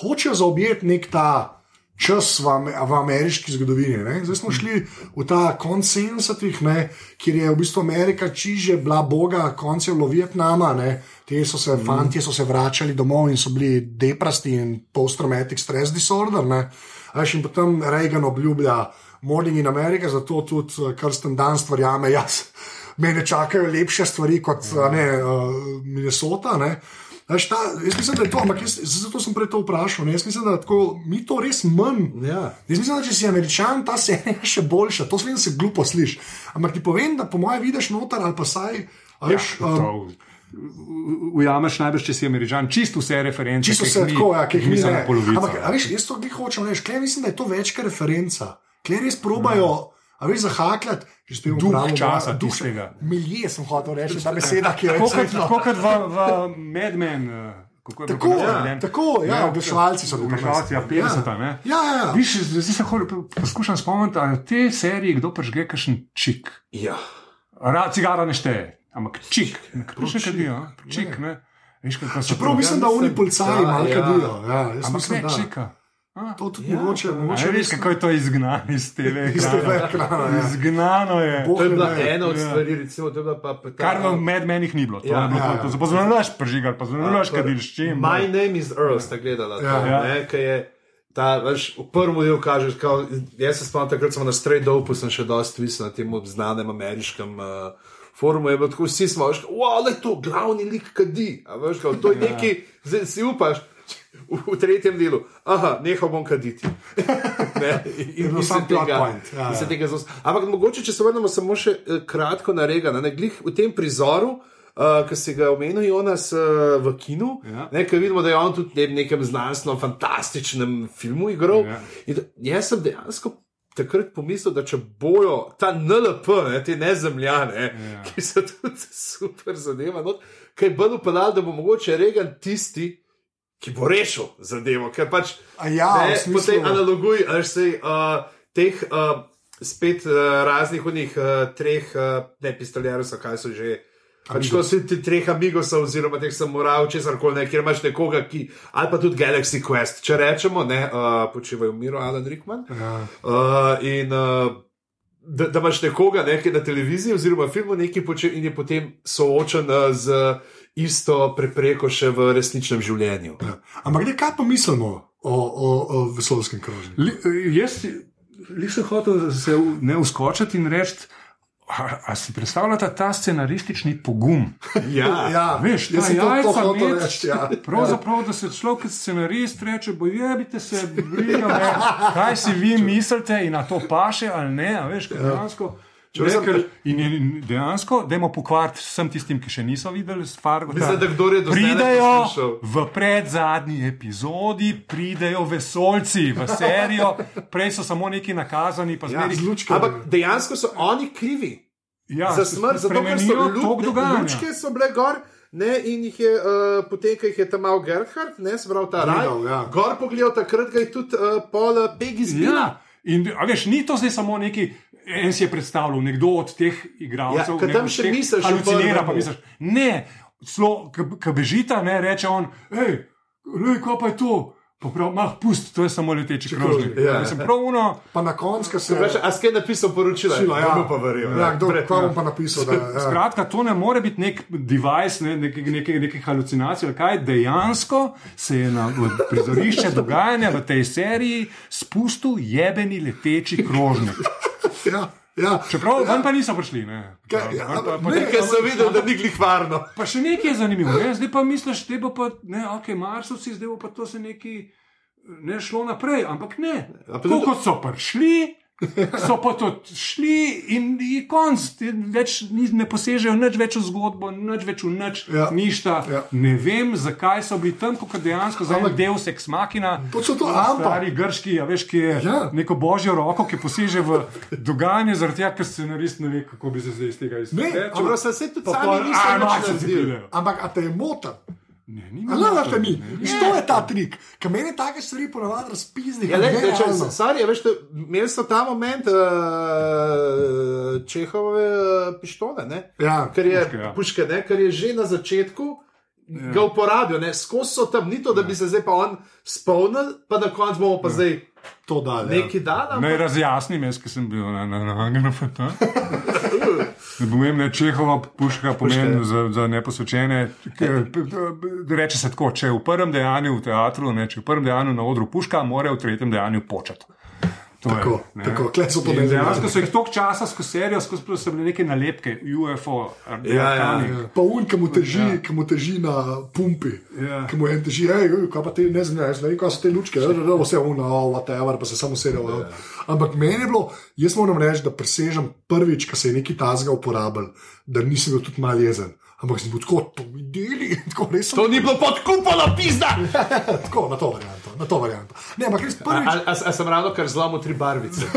D: hočejo zaobjeti nek ta čas v, ame- v ameriški zgodovini. Ne? Zdaj smo šli v ta konc 70-ih, ne, kjer je v bistvu Amerika čiže bila boga, konc je bilo Vietnama. Ne? Ti so se, mm. fanti so se vračali domov in so bili deprasti in post-traumatic stress disorder. ne. A veš, in potem Reagan obljublja Morning in America, zato tudi eh, Kirsten Dunst verjame, jaz. Mene čakajo lepše stvari kot a ne, uh, Minnesota. Ne. Veš, ta, jaz mislim, da je to, ampak jaz, zato sem prej to vprašal. Ne. Jaz mislim, da tako, mi to res manj.
A: Ja.
D: Jaz mislim, da če si američan, ta se je še boljša. To svem se glupo sliši. Ampak ti povem, da po mojem vidiš noter ali pa saj. a Veš, ja, um,
B: prav. Ujameš najbrž, če si američan, čisto vse reference.
D: čisto
B: ki
D: se
B: jih mi-
D: tako, ja, ki jih mi
B: samo
D: ne.
B: polovico.
D: Ampak, a veš, jaz to glih hočem reči, klej mislim, da je to več kot referenca. Klej res probajo, a veš, zahakljati, že spet
B: Ja. Duh časa tistega.
D: Milje sem hotel reči, ta beseda, ki jo
B: Tako kot,
D: reče.
B: tako kot v, v Mad Men. eh, kako je bilo
D: Tako,
B: pa
D: ja,
B: Mad Men?
D: tako, ja, oglaševalci so bili
B: Oglaševalci, ja,
D: pri nas.
B: 50. ne.
D: Ja, ja, ja.
B: Viš, zdaj se hol- poskušam spomniti, ali v tej seriji kdo pržge kakšen čik.
A: Ja.
B: Ra, cigara ne šteje, ampak čik. Prišel je kadijo, čik, ne. Veš, kako so
D: Prav mislim, da oni
A: mislim,
D: policaji
A: da,
D: malo
A: ja.
D: kadijo. Ja, jaz
B: Ampak
D: mislim,
B: ne
D: da
B: čika. A?
D: to tudi mogoče, mogoče
B: Ne, veš,
D: res-
B: kako je to izgnano iz TV.
D: Iz TV
B: ekrana.
D: ekrana, ja.
B: Izgnano je.
D: Bo-
A: To je bila
D: Ja.
A: ena od stvari, recimo, to je bila pa
B: Kar v
A: ta-
B: med menih ni bilo. To
A: Ja,
B: je bilo
D: ja,
B: to.
D: ja.
B: To se pozdraviš prižigar, pozdraviš
A: torej,
B: kadilščin.
A: My name is Earl, sta gledala.
D: Ja.
A: Ja.
B: Ja.
A: To, ne, ki je ta, veš, v prvem delu kažeš, kao, jaz se spomnim, takrat sem na Stray Dopu, sem še dosti visel na tem znanem ameriškem. Uh, Forumu je bilo tako, vsi smo, veš, wow, le to, glavni lik kadi. A Veš, kao, to je
D: Ja.
A: nekaj, zdaj si upaš. V, v tretjem delu, aha, nehal bom kaditi. Ne, in
D: bilo
A: in se
D: samo plot point. Ja,
A: in se
D: ja.
A: tega zelo. Ampak mogoče, če se vrnemo samo še eh, kratko na rega, ne, glih v tem prizoru. Uh, ki si ga omenil, Jonas, uh, v kinu,
B: Ja.
A: ja. nekaj vidimo, da je on tudi v nekem znanstveno fantastičnem filmu igral.
B: Ja.
A: Ja. Jaz sem dejansko takrat pomislil, da če bojo ta NLP, ne, te nezemljane,
B: Ja.
A: ja. ki so tudi super zadeva, not, kaj bolj upeljal, da bo mogoče Reagan tisti, ki bo rešil zadevo, ker pač
D: A ja, v
A: ne,
D: smislu-
A: po tej analogiji, ali se uh, teh uh, spet uh, raznih unih uh, treh, uh, ne pistoljarjev, so, kaj so že. Pač to so ti treh amigosov, oziroma teh samurajov, česar koli, ne, kjer imaš nekoga, ki, ali pa tudi Galaxy Quest, če rečemo, ne, uh, počivajo v miru, Alan Rickman.
D: Ja.
A: Uh, in uh, da, da imaš nekoga, ne, ki je na televiziji oziroma filmu nekaj počne in je potem soočen uh, z isto prepreko še v resničnem življenju.
D: Ampak ne, kaj pa mislimo o, o, o vesolskem krožnju?
B: Li, eh, jaz nisem hotel se v- ne uskočiti in reči, a, a si predstavljate ta scenaristični pogum?
A: Ja,
B: Veš, ta
D: jaz sem to- to
B: jajca
D: hotel
B: met-
D: reči, ja.
B: Pravzaprav, da se človek kot scenarist reče, bojebite se, briga, me, kaj si vi mislite in na to paše ali ne, a veš, kaj dejansko. Ne,
A: Ja. sem-
B: ker, in, in dejansko, da jim pokvariti vsem tistim, ki še niso videli, stvarno.
A: Mislim, da kdor je do zdajle
B: Pridejo
A: poslušal.
B: v predzadnji epizodi, pridejo vesolci v serijo, prej so samo neki nakazani, pa
A: Ja,
B: zmeri
D: z lučkami.
A: Ampak dejansko so oni krivi.
B: Ja,
A: za smrt, zato ker so
B: spremenijo tok dogajanja.
A: lučke so bile gor. Ne, in jih je, uh, potem, ko jih je tam mal Gerhard, ne, zbral ta raj,
D: Gledal, ja.
A: gor pogledal, takrat ga je tudi uh, pol Peggy zbila.
B: Ja, in a veš, ni to zdaj samo neki. En si je predstavljal, nekdo od teh
A: Ja,
B: igralcev,
A: ke
B: ne,
A: tam
B: od
A: še
B: teh
A: misliš v
B: halucinira,
A: prvem.
B: pa misliš, ne, ki bežita, ne, reče on, hej, lej, kaj pa je to? Pa prav, mah, pust, to je samo leteči krožnik.
A: krožnik, ja.
B: Ja. Mislim, prav uno,
D: Pa na koncu, ko se
A: Veš, a skaj je napisal poročilo?
D: Poročila, ja.
A: Ne bo pa verjel.
D: Ja, kdo,
A: Brez-
D: kva bom pa napisal, da, ja.
B: Skratka, to ne more biti nek device, ne, neke, neke, neke halucinacije. ali Kaj dejansko se je na v prizorišče dogajanja v tej seriji spustil jebeni leteči krožnik.
D: Ja, ja.
B: Čeprav ven pa niso prišli. Ne.
D: Kaj,
B: Ven
D: ja,
B: pa, pa,
D: ne.
A: Ker sem videl, da ni glih varno.
B: pa še nekaj je zanimivo. Ne? Zdaj pa misliš, da bo pa, ne, ok, marsovci, zdaj bo pa to se neki. Ne šlo naprej, ampak ne.
A: A pa
B: Tako
A: zato-
B: kot so prišli, so pa to šli in je konc. Ti Več, ni- ne posežejo nič več v zgodbo, nič več v nič,
D: Ja.
B: ja. ništa.
D: Ja.
B: Ja. Ne vem, zakaj so bili tam, kot dejansko zdaj
D: Ampak-
B: del seks makina.
D: Točno to, ampak-
B: Stari grški, ja, veš, ki je
D: Ja.
B: ja. neko božjo roko, ki poseže v dogajanje, zaradi tega, ker scenarist ne ve, kako bi se zdaj iz tega izvlekel.
D: Ne,
B: Če-
A: Čeprav sem se tudi
B: Pa
A: sam
B: pol-
A: nisem
B: a,
A: nič
B: maček si
A: naredil.
B: pridejo.
D: Ampak a te je motor.
B: Ne, nima
D: Lala te
B: noter,
D: ni,
B: ne.
D: to je ta trik. Kaj meni take stvari ponavadi razpizdi.
A: Ja, le, le, če, sorry, veš, te- imeli so ta moment uh, Čehove uh, pištole, ne?
D: Ja,
A: ker je,
B: puške,
A: puške,
B: ja.
A: ja. puške, ne? ker je že na začetku. Ja. Ga uporabijo, ne? skozi so tam, ni to, da bi se zdaj pa on spomnil, pa na koncu bomo pa ja. zdaj
D: to ja. da.
A: neki dan.
B: Naj
A: ampak-
B: razjasnim, jaz, ki sem bil na NGNFT. Da povem, ne Čehova puška pomeni
A: Puška.
B: za, za neposvečene. k- p- p- Reče se tako, če je v prvem dejanju v teatru, ne, če je v prvem dejanju na odru puška, mora v tretjem dejanju početi. To je,
D: Tako,
B: ne.
D: tako, tle so
B: In
D: pomenili.
B: Dejansko so jih toliko časa skozi serijo, skozi plus so bile neke nalepke, UFO,
A: ja,
B: Arkani.
D: Pa un, ki mu teži, ki mu teži na pumpi,
B: Ja.
D: ki mu en teži, hej, kaj pa ti ne znaš, ne vem, kaj so te lučke, da bo vse uno, whatever, pa se samo sedel. Ja. Ampak meni je bilo, jaz moram reči, da presežem prvič, ko se je neki tazga uporabil, da nisem bil tudi mal jezen. Ampak sem bil tako, to mi deli, tako res.
A: To ni bilo podkupano, pizda!
D: tako, na to varianto, na to varianto. Ne, ampak res prvič.
A: A, a, a sem ravno kar zlomil tri barvice.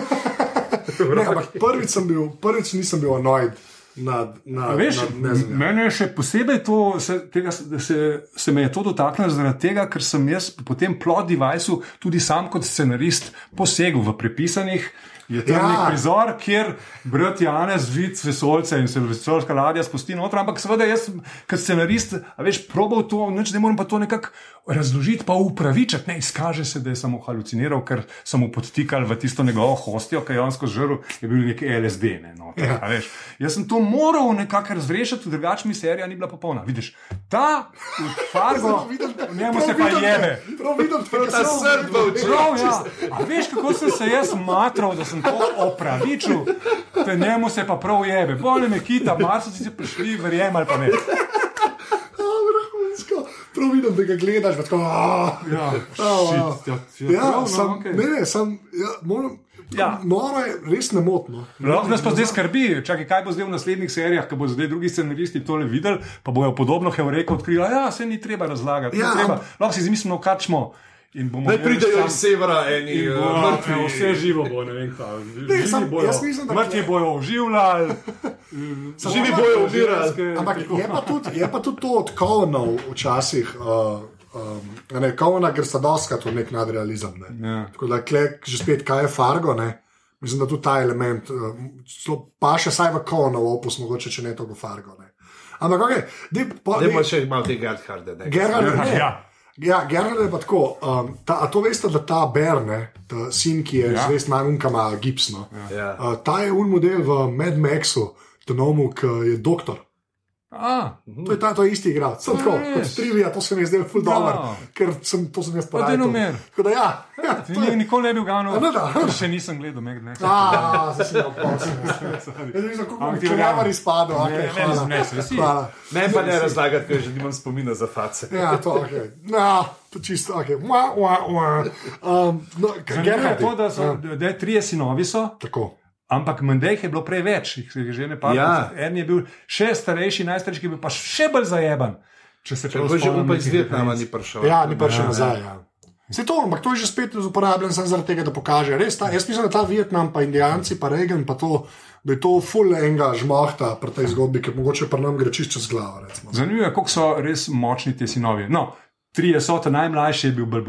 D: Ne, ampak prvič, sem bil, prvič nisem bil anoid. Nad,
B: A
D: nad,
B: Veš,
D: nad, nad
B: mene je še posebej to, se, tega, se, se, se me je to dotaknilo zaradi tega, ker sem jaz po tem plot deviceu tudi sam kot scenarist posegel v prepisanih. Je tam
D: Ja.
B: ja. nek prizor, kjer brat Janez vidi vesolce in se vesolska ladja spusti noter, ampak seveda jaz, sem kot scenarist, a veš, probal to, nič ne morem pa to nekako razložiti, pa upravičiti. Ne, izkaže se, da je samo haluciniral, ker so mu podtikali v tisto njegovo hostijo, ki je on skozi žrl, je bil nek LSD. Ne, no,
D: Ja.
B: A Veš, jaz sem to moral nekako razrešiti, drugače mi serija ni bila popolna. Vidiš, ta fargo, njemu se pa jebe.
D: Prav vidim, da je
A: Ta srd v oči.
B: Prav, ja. A veš, kako sem se jaz matral, da sem to opravičil, te njemu se pa prav jebe. Bolje me kita, marsi si prišli, verjemem ali pa ne.
D: Vrhunsko. Prav vidim, da ga gledaš, pa tako. "Ah."
B: Ja,
A: Oh,
D: Ah,
B: shit, ja, ja,
D: Ja,
B: prav, no,
D: sam,
B: okej.
D: ne, ne, sam, ja, moram,
B: Ja.
D: ja. Noro je res nemotno.
B: Lahko nas pa zdaj skrbi, čakaj, kaj bo zdaj v naslednjih serijah, ko bodo zdaj drugi scenaristi tole videli, pa bojo podobno Heureka odkrili, da ja, se ni treba razlagati. Ja,
D: Ja,
B: treba.
D: am-
B: Lahko si izmislimo, kaj smo. in bomo
A: Naj
B: imeli
A: pridejo
B: sam-
A: iz severa, eni
B: In
A: eh,
B: bo,
A: mrtvi.
B: ja, vse živo bo, ne vem kaj. Živi
D: sam-
B: bojo-
D: jaz mislim, da-
B: Mrtvi bojo oživljali,
A: Živi bojo ubirali.
B: ženske-
D: Ampak je pa tudi, je pa tudi to od Kovnov včasih. Uh, Um, a ne, Kovna gre sta doskrat v nek nadrealizem. Ne.
B: Ja.
D: Tako da klek že spet, kaj je Fargo. Ne. Mislim, da tudi ta element, uh, celo pa še saj v Kovnov opus, mogoče če ne togo Fargo. Ne. Ampak ok, dej, po, dej,
A: Dajmo še malo tega Gerharda. ne.
D: Gerard, ne.
B: Ja.
D: Ja, Gerard je pa tako. Um, ta, a to veste, da ta Berne, ta sin, ki je
B: Ja.
D: ja. zvezd najunkama gipsno, ja.
A: Ja.
D: uh, ta je un model v Mad Maxu, Tonomu, ki je doktor.
B: A,
D: To je ta to je isti igralec. Sem tako,
B: res?
D: kot trivia, to se mi je zdelo ful dobro,
B: Ja.
D: ker sem to sem jaz
B: Pa
D: porajtal.
B: Denomer.
D: Tako da ja, ja
B: ti
D: to
B: ni-
D: je
B: nikoli ne bi
D: A ne, da.
B: ganil. Še nisem gledal, meg ne.
D: Ah, se si ga opomnil. Jaz nisem kako
B: Ampak ti
D: ti
B: verjamem.
D: čelavar izpadel.
B: Ne,
D: okej,
B: ne, ne,
D: hvala.
B: ne, se vsi.
D: Hvala.
A: Ne pa ne razlagati, ker že nimam spomina za face.
D: Ja, to je okay. no, to čisto ok. Mua, mua, mua. Um, no,
B: Zanimivo je
D: Gerhard je-
B: to, da so da je trije sinovi so.
D: Tako.
B: Ampak menda jih je bilo preveč, jih je že ne pa.
A: Ja.
B: En je bil še starejši, najstarejši, ki je bil pa še bolj zajeban. Če se prav
A: Bo že
B: spomnim
A: upaj iz
B: nekih
A: Vietnama
B: referenc.
A: ni prišel.
D: Ja, ni prišel nazaj. Ja. Se to, ampak to je že spet uporabljen samo zaradi tega, da pokaže. Res, ta, jaz mislim, da ta Vietnam, pa Indijanci, pa Reagan, pa to, da je to full enga žmohta pri tej zgodbi, ki mogoče pa nam gre čisto čez glavo. recimo.
B: Zanimivo je, kako so res močni ti sinovi. No, trije so, ta najmlajši je bil bolj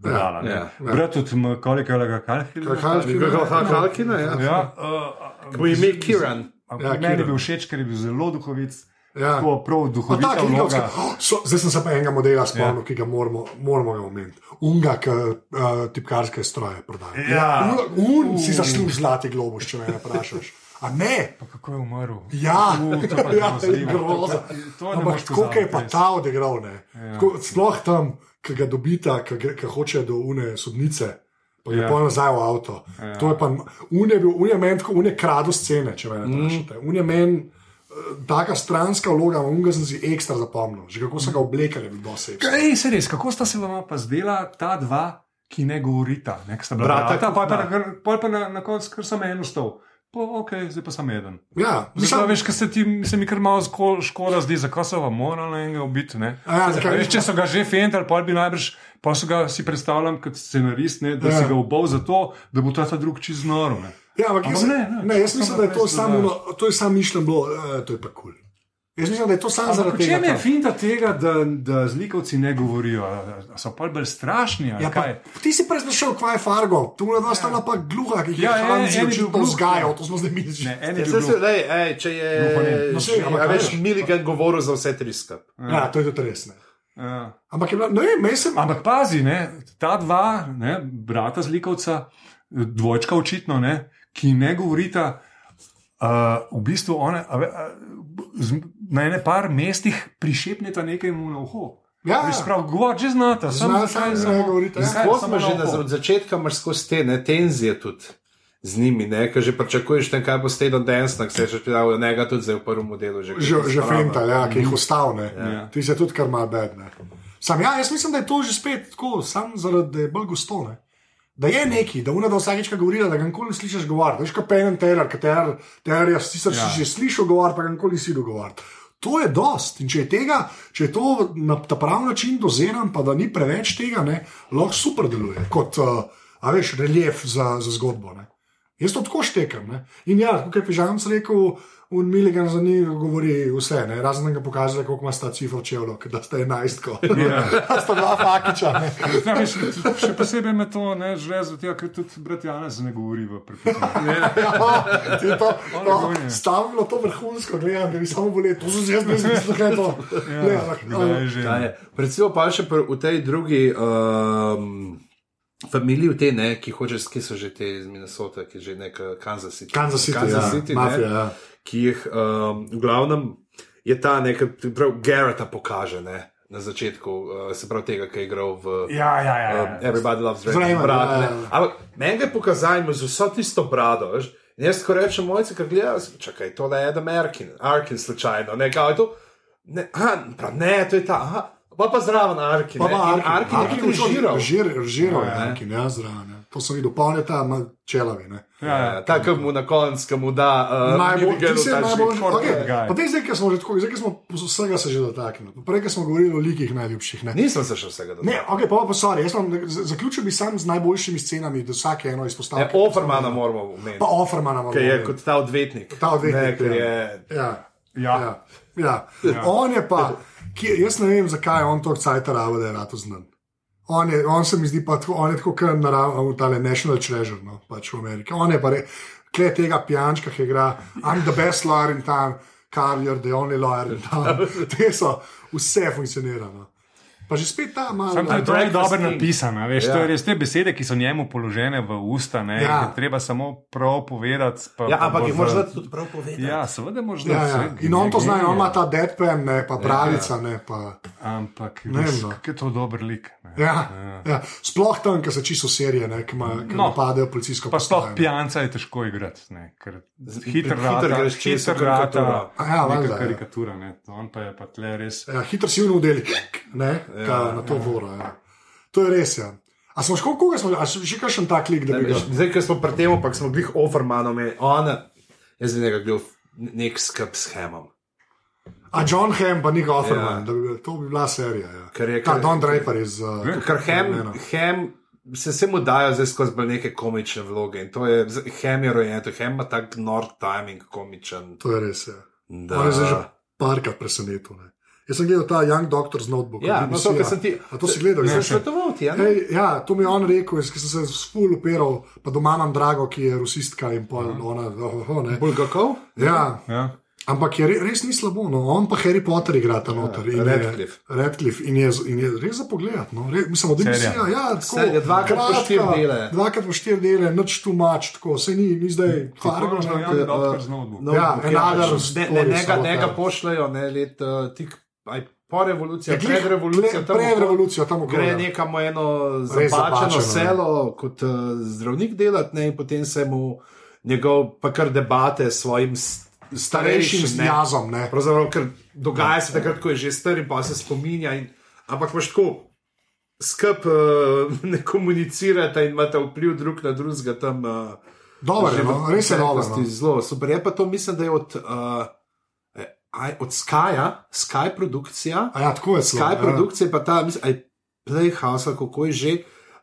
B: budala.
A: Ja,
B: Ja,
A: ja.
B: ja. Brat od kolega Kalhila.
D: Kaj, kaj,
A: Kako
D: kaj?
A: Halkina, ja.
B: Ja, uh,
A: Bo ime Kiran.
B: ja,
D: Ja,
B: meni je
D: Kiran.
B: bil všeč, ker je bil zelo duhovit.
D: Ja.
B: Tako prav
D: Pa
B: duhovit.
D: ta klikovska, oh, so, zdaj sem se pa enega modela spomnil, ja. ki ga moramo, moramo ga omeniti. Unga, ki uh, tipkarske stroje prodaja.
B: Ja.
D: Un, un si zasluži zlati globus, če me ne vprašaš. A ne,
B: Kako je umrl?
D: Ja,
B: U, to pa je
D: ja,
B: grozljivo.
D: groza.
B: To ne
D: Ampak
B: moreš
D: tako kot je pa
B: pozabiti,
D: ta odigral, ne.
B: Ja.
D: Tako, sploh tam, ki ga dobita, ki gre- ki hočejo do une sodnice. Pa je
B: Ja.
D: yeah. pol nazaj v avto. Yeah. To je pa, unje bil, unje meni tako, unje kradu scene, če me ne vprašate. Unje meni eh, taka stranska vloga, unga sem si ekstra zapomnil. Že kako so ga oblekali, bi bilo vse.
B: Ej, se res, kako sta se vam pa zdela ta dva, ki ne govorita? Ne, ki sta bila
A: Brata,
B: brata, pa, pa,
A: da.
B: na, kar- pol pa na, na koncu kar samo en ustal. Pa, ok, zdaj pa samo eden.
D: Ja,
B: Mislim,
D: mislim,
B: veš, kaj se, ti, se mi kar malo zko- škoda zdi, zakaj so vam morali enega ubiti. ne?
D: A ja, zakaj?
B: Veš, če so ga že fental, pa bi najbrž, pa so ga si predstavljam kot scenarist, ne, da
D: Ja.
B: ja. si ga ubal zato, da bo ta, ta drug čez noro. Ne.
D: ja, ampak jaz,
B: Ampak ne, ne.
D: ne, jaz mislim, da je
B: Samo
D: to samo,
B: brez
D: ono- to je samo mišljeno, bilo, eh, to je pa kul. Cool. Jaz mislim, da je to samo
B: Ampak
D: zaradi
B: v
D: tega.
B: čem je
D: kar-
B: finta tega, da, da zlikovci ne govorijo? A- a So pa bolj strašni. ali
D: Ja, pa,
B: kaj?
D: ti si prej znašel, kaj je Fargo, tu na dva sta bila pa gluha, ki jih je
B: Ja, en-
D: Hans
B: en je
D: učil
B: bil
D: to
B: gluh,
D: vzgajo,
B: ja.
D: to smo zdaj mi že.
B: Ne, en je
A: Ja,
B: bil
A: saj se,
B: gluh.
A: lej, ej, če je,
B: Gluho ne.
D: No, saj,
A: če-
D: ampak
A: a veš,
D: veš.
A: Milligan govoril za vse tri skupaj.
D: Ja, to je tudi res. Ne.
B: Ja.
D: Ampak je bilo, ne vem, jaz sem.
B: Ampak pazi, ne, ta dva, ne, brata zlikovca, dvojčka očitno, ne, ki ne govorita. Uh, v bistvu one, a, ve- a, z, na ene par mestih prišepneta nekaj mu na uho.
D: Ja, ja.
B: Sprav, govor, že znata,
D: Znata,
B: samo
D: ja,
B: zakaj samo-
D: govorita, ja.
B: zakaj
A: Tako
B: samo
A: smo
B: na
A: že na,
B: uho?
A: od začetka, imaš skozi te ne, tenzije tudi. Z njimi, ne, ker že pričakuješ, ne, kaj bo s tedom danes, ne, se je že pridal, ne, ga tudi zdaj v prvem delu. Že,
D: Že, že fental, ja, ki jih ustavne.
B: Ja.
D: Ti se tudi kar mal bedne. Sam ja, jaz mislim, da je to že spet tako, sam zaradi da je bolj gostone. Da je neki, da unada vsakička govorila, da ga nikoli ne slišiš govoriti. Veš, kot Penn Terror, ki ter, ter jaz sicer ja.
B: Ja.
D: že slišal govoriti, pa ga nikoli nisi dogovoriti. To je dost in če je tega, če je to na ta pravi način dozeran, pa da ni preveč tega, ne, lahko super deluje kot, uh, a veš, relief za, za zgodbo. Ne. Jaz to tako štekam. Ne? In ja, kot je Pižamc rekel, un Miligan za njih govori vse, ne? razen da ga pokaže, koliko ima sta cifra čevljev, ker da sta enajstko. Ja. sta dva fakiča. ne.
B: Ja, veš, tudi- še posebej me to ne žrezo, tega, ker tudi brat Janez ne govori v prepričanju.
D: Ja, ti to,
B: Ono
D: no,
B: gonje.
D: stavilo to vrhunsko, gledam, da bi samo bolel, to so jaz brez mislil, kaj je to. Ne, ampak,
B: Ja.
D: eh,
B: Kdaj že?
A: Ja, je. Recimo pa še pr, v tej drugi um, familiji, v tej, ne, ki, hoče, ki so že te iz Minnesota, ki je že neka Kansas City.
D: Kansas City,
A: Kansas
D: ja,
A: City
D: mafija,
A: ne,
D: ja.
A: ki jih um, v glavnem je ta nekaj, prav Garreta pokaže ne, na začetku, uh, se pravi tega, ki je igral v.
B: Ja, ja, ja.
A: Um,
B: ja.
A: everybody loves
D: Raymond,
A: Raymond. Brat,
D: ja,
A: ne.
D: ja.
A: Ampak meni ga je pokazal in mu z vso tisto brado. Veš? In jaz ko rečem, mojci, ki gledajo, čakaj, to je Adam Arkin, Arkin slučajno, ne, kao je to. Ne, a, prav, ne, to je ta. Aha, pa pa zraven Arkin.
D: Pa
A: ne. In
D: ima
A: Arkin, Arkin je žiral.
D: Žir, žiral je Arkin, ja, zraven. ja. To sem videl, polne ta ima čelavi. Ne.
B: ja, ja.
A: Tako mu na koncu, ki mu da uh,
D: Najbolj-
A: Miguelu
D: ti si
A: ta
D: najbolj-
A: žig.
B: corporate
D: okej,
B: guy.
D: pa daj zdaj, ker smo že tako, zdaj, ker smo vsega se že dotaknili. Pa Prej, ker smo govorili o likih najljubših. Ne?
A: Nisem se še vsega
D: Ne,
A: dotaknil.
D: okay, pa, pa, sorry, jaz imam, z- zaključil bi sam z najboljšimi scenami, da vsake eno izpostavim.
A: Ne, Ofermana moramo
D: Pa
A: omeniti,
D: Offermana moramo.
A: ki E, je
D: omeniti.
A: kot ta odvetnik.
D: Ta odvetnik,
A: Ne, ker
D: ja.
A: je,
D: Ja.
B: Ja.
D: Ja. Ja. ja. On je pa, ki, jaz ne vem, zakaj je on to cajt rava, da je rado znan. On, je, on se mi zdi pa tako, on je tako kar naravno, ta national treasure, no, pač v Ameriki. On je pa re, kle tega pijančka, ki igra, I'm the best lawyer in town, Carl, you're the only lawyer in town. Te so, vse funkcionira. No. Pa že spet ta malo.
B: Sam to je tako
A: Breakfast
B: dobro
A: King.
B: napisano, veš, ja. to
A: Ja.
B: je res te besede, ki so njemu položene v usta, ne,
D: Ja.
B: ja. treba samo prav povedati. Pa,
A: ja,
B: pa
A: ampak
B: bo
A: je možno
B: za-
A: tudi prav povedati.
B: Ja, seveda možeš.
D: Ja, ja. In on to zna, in on ima ta deadpan, ne
A: Ja,
D: pa pravica, ne pa.
B: Ampak,
D: Ne
B: res,
D: vem, no.
B: kako je to dober lik. ne.
D: Ja, ja. Sploh tam, ki so čisto serije, ne, ki ima- ki
B: No.
D: napadajo policijsko
B: Pa
D: postajo,
B: sploh
D: ne.
B: pijanca je težko igrati, ne, ker
A: hitro
B: hitro rata,
A: greš čez
B: hitro
A: karikaturo.
B: rata,
D: A ja, valjda,
B: neka
D: ja.
B: karikatura, ne, on pa je pa tle res.
D: Ja, hitro si vnil deli, ne, ja, na to vora. Ja. To je res. Ja. A smo še kako, koga smo, a še še kakšen tak lik, da
A: Ne,
D: bi ga
A: veš, Zdaj, ker smo pri tem, pa smo bili overmanom, je on, jaz bi nekaj bil nek skrb s hemom.
D: A John Hamm, pa Nick Offerman,
A: Ja.
D: ja. da bi, bil- to bi bila serija. Ja.
A: Ker je-
D: Ta
A: ker-
D: Don Draper iz. Uh,
A: Ker hem,
D: Mena.
A: hem se vsemu dajo zdaj skozi bolj neke komične vloge in to je, z- hem je rojen, to hem ima tak nor timing komičen.
D: To je res. Ja.
A: Da.
D: Da. On je zdaj že parkrat presenetil. Ne. Jaz sem gledal ta Young Doctor z notebooka.
A: Ja, no to,
D: BBC-ja.
A: kar sem ti.
D: A to si gledal,
A: Sem
D: jaz sem.
A: svetoval ti, ja? ne?
D: Ej, ja, to mi je on rekel, jaz ki sem se spul upiral, pa doma imam drago, ki je rusistka in pol ona. Oh, oh, ne.
A: Bulgakov?
D: Ja,
B: Ja.
D: Ampak je re, res ni slabo, no. on pa Harry Potter igra tam noter. in je-
A: Radcliffe.
D: Radcliffe in je, in je res za pogled. No. Re, mislim, da je
B: Serija.
D: vse. Ja, tako,
A: Serija, dvakrat po
D: kratka,
A: štiri dele.
D: Dvakrat po štiri dele, nič tu mač, tako se ni, ni zdaj fargo.
B: Tako,
D: ne.
B: ja. Young Doctor z notebooka.
A: No,
D: Ja, another
A: ne,
D: story,
A: ne, ne, ga,
D: samo ja.
A: ne ga
D: ta.
A: pošljajo, ne, let, uh, tik, aj, po revoluciji,
D: Ja, glih-
A: pred revolucijo.
D: glih-
A: tam
D: Pred
A: okoli.
D: revolucijo tam okoli.
A: gre
D: ja.
A: nekam v eno
D: zapačeno,
A: zapačeno
D: ne.
A: selo, kot eh, zdravnik delati, ne, in potem se mu njegov, pa kar debate s svojim s-
D: Starejšim
A: starejšim
D: z
A: ne.
D: jazom. Ne.
A: Pravzaprav, ker dogaja se takrat, ko je že star in pa se spominja. In, ampak imaš tako. Skrb uh, ne komunicirate in imate vpliv drug na drugega tam. Uh,
D: Dober je, no. res je dobro. No.
A: Zelo super. Je pa to, mislim, da je od, uh, od Skyja, Sky produkcija,
D: A Ja, tako je slabo.
A: Sky produkcija, pa ta, mislim, aj Playhouse, ali eh, kako je že,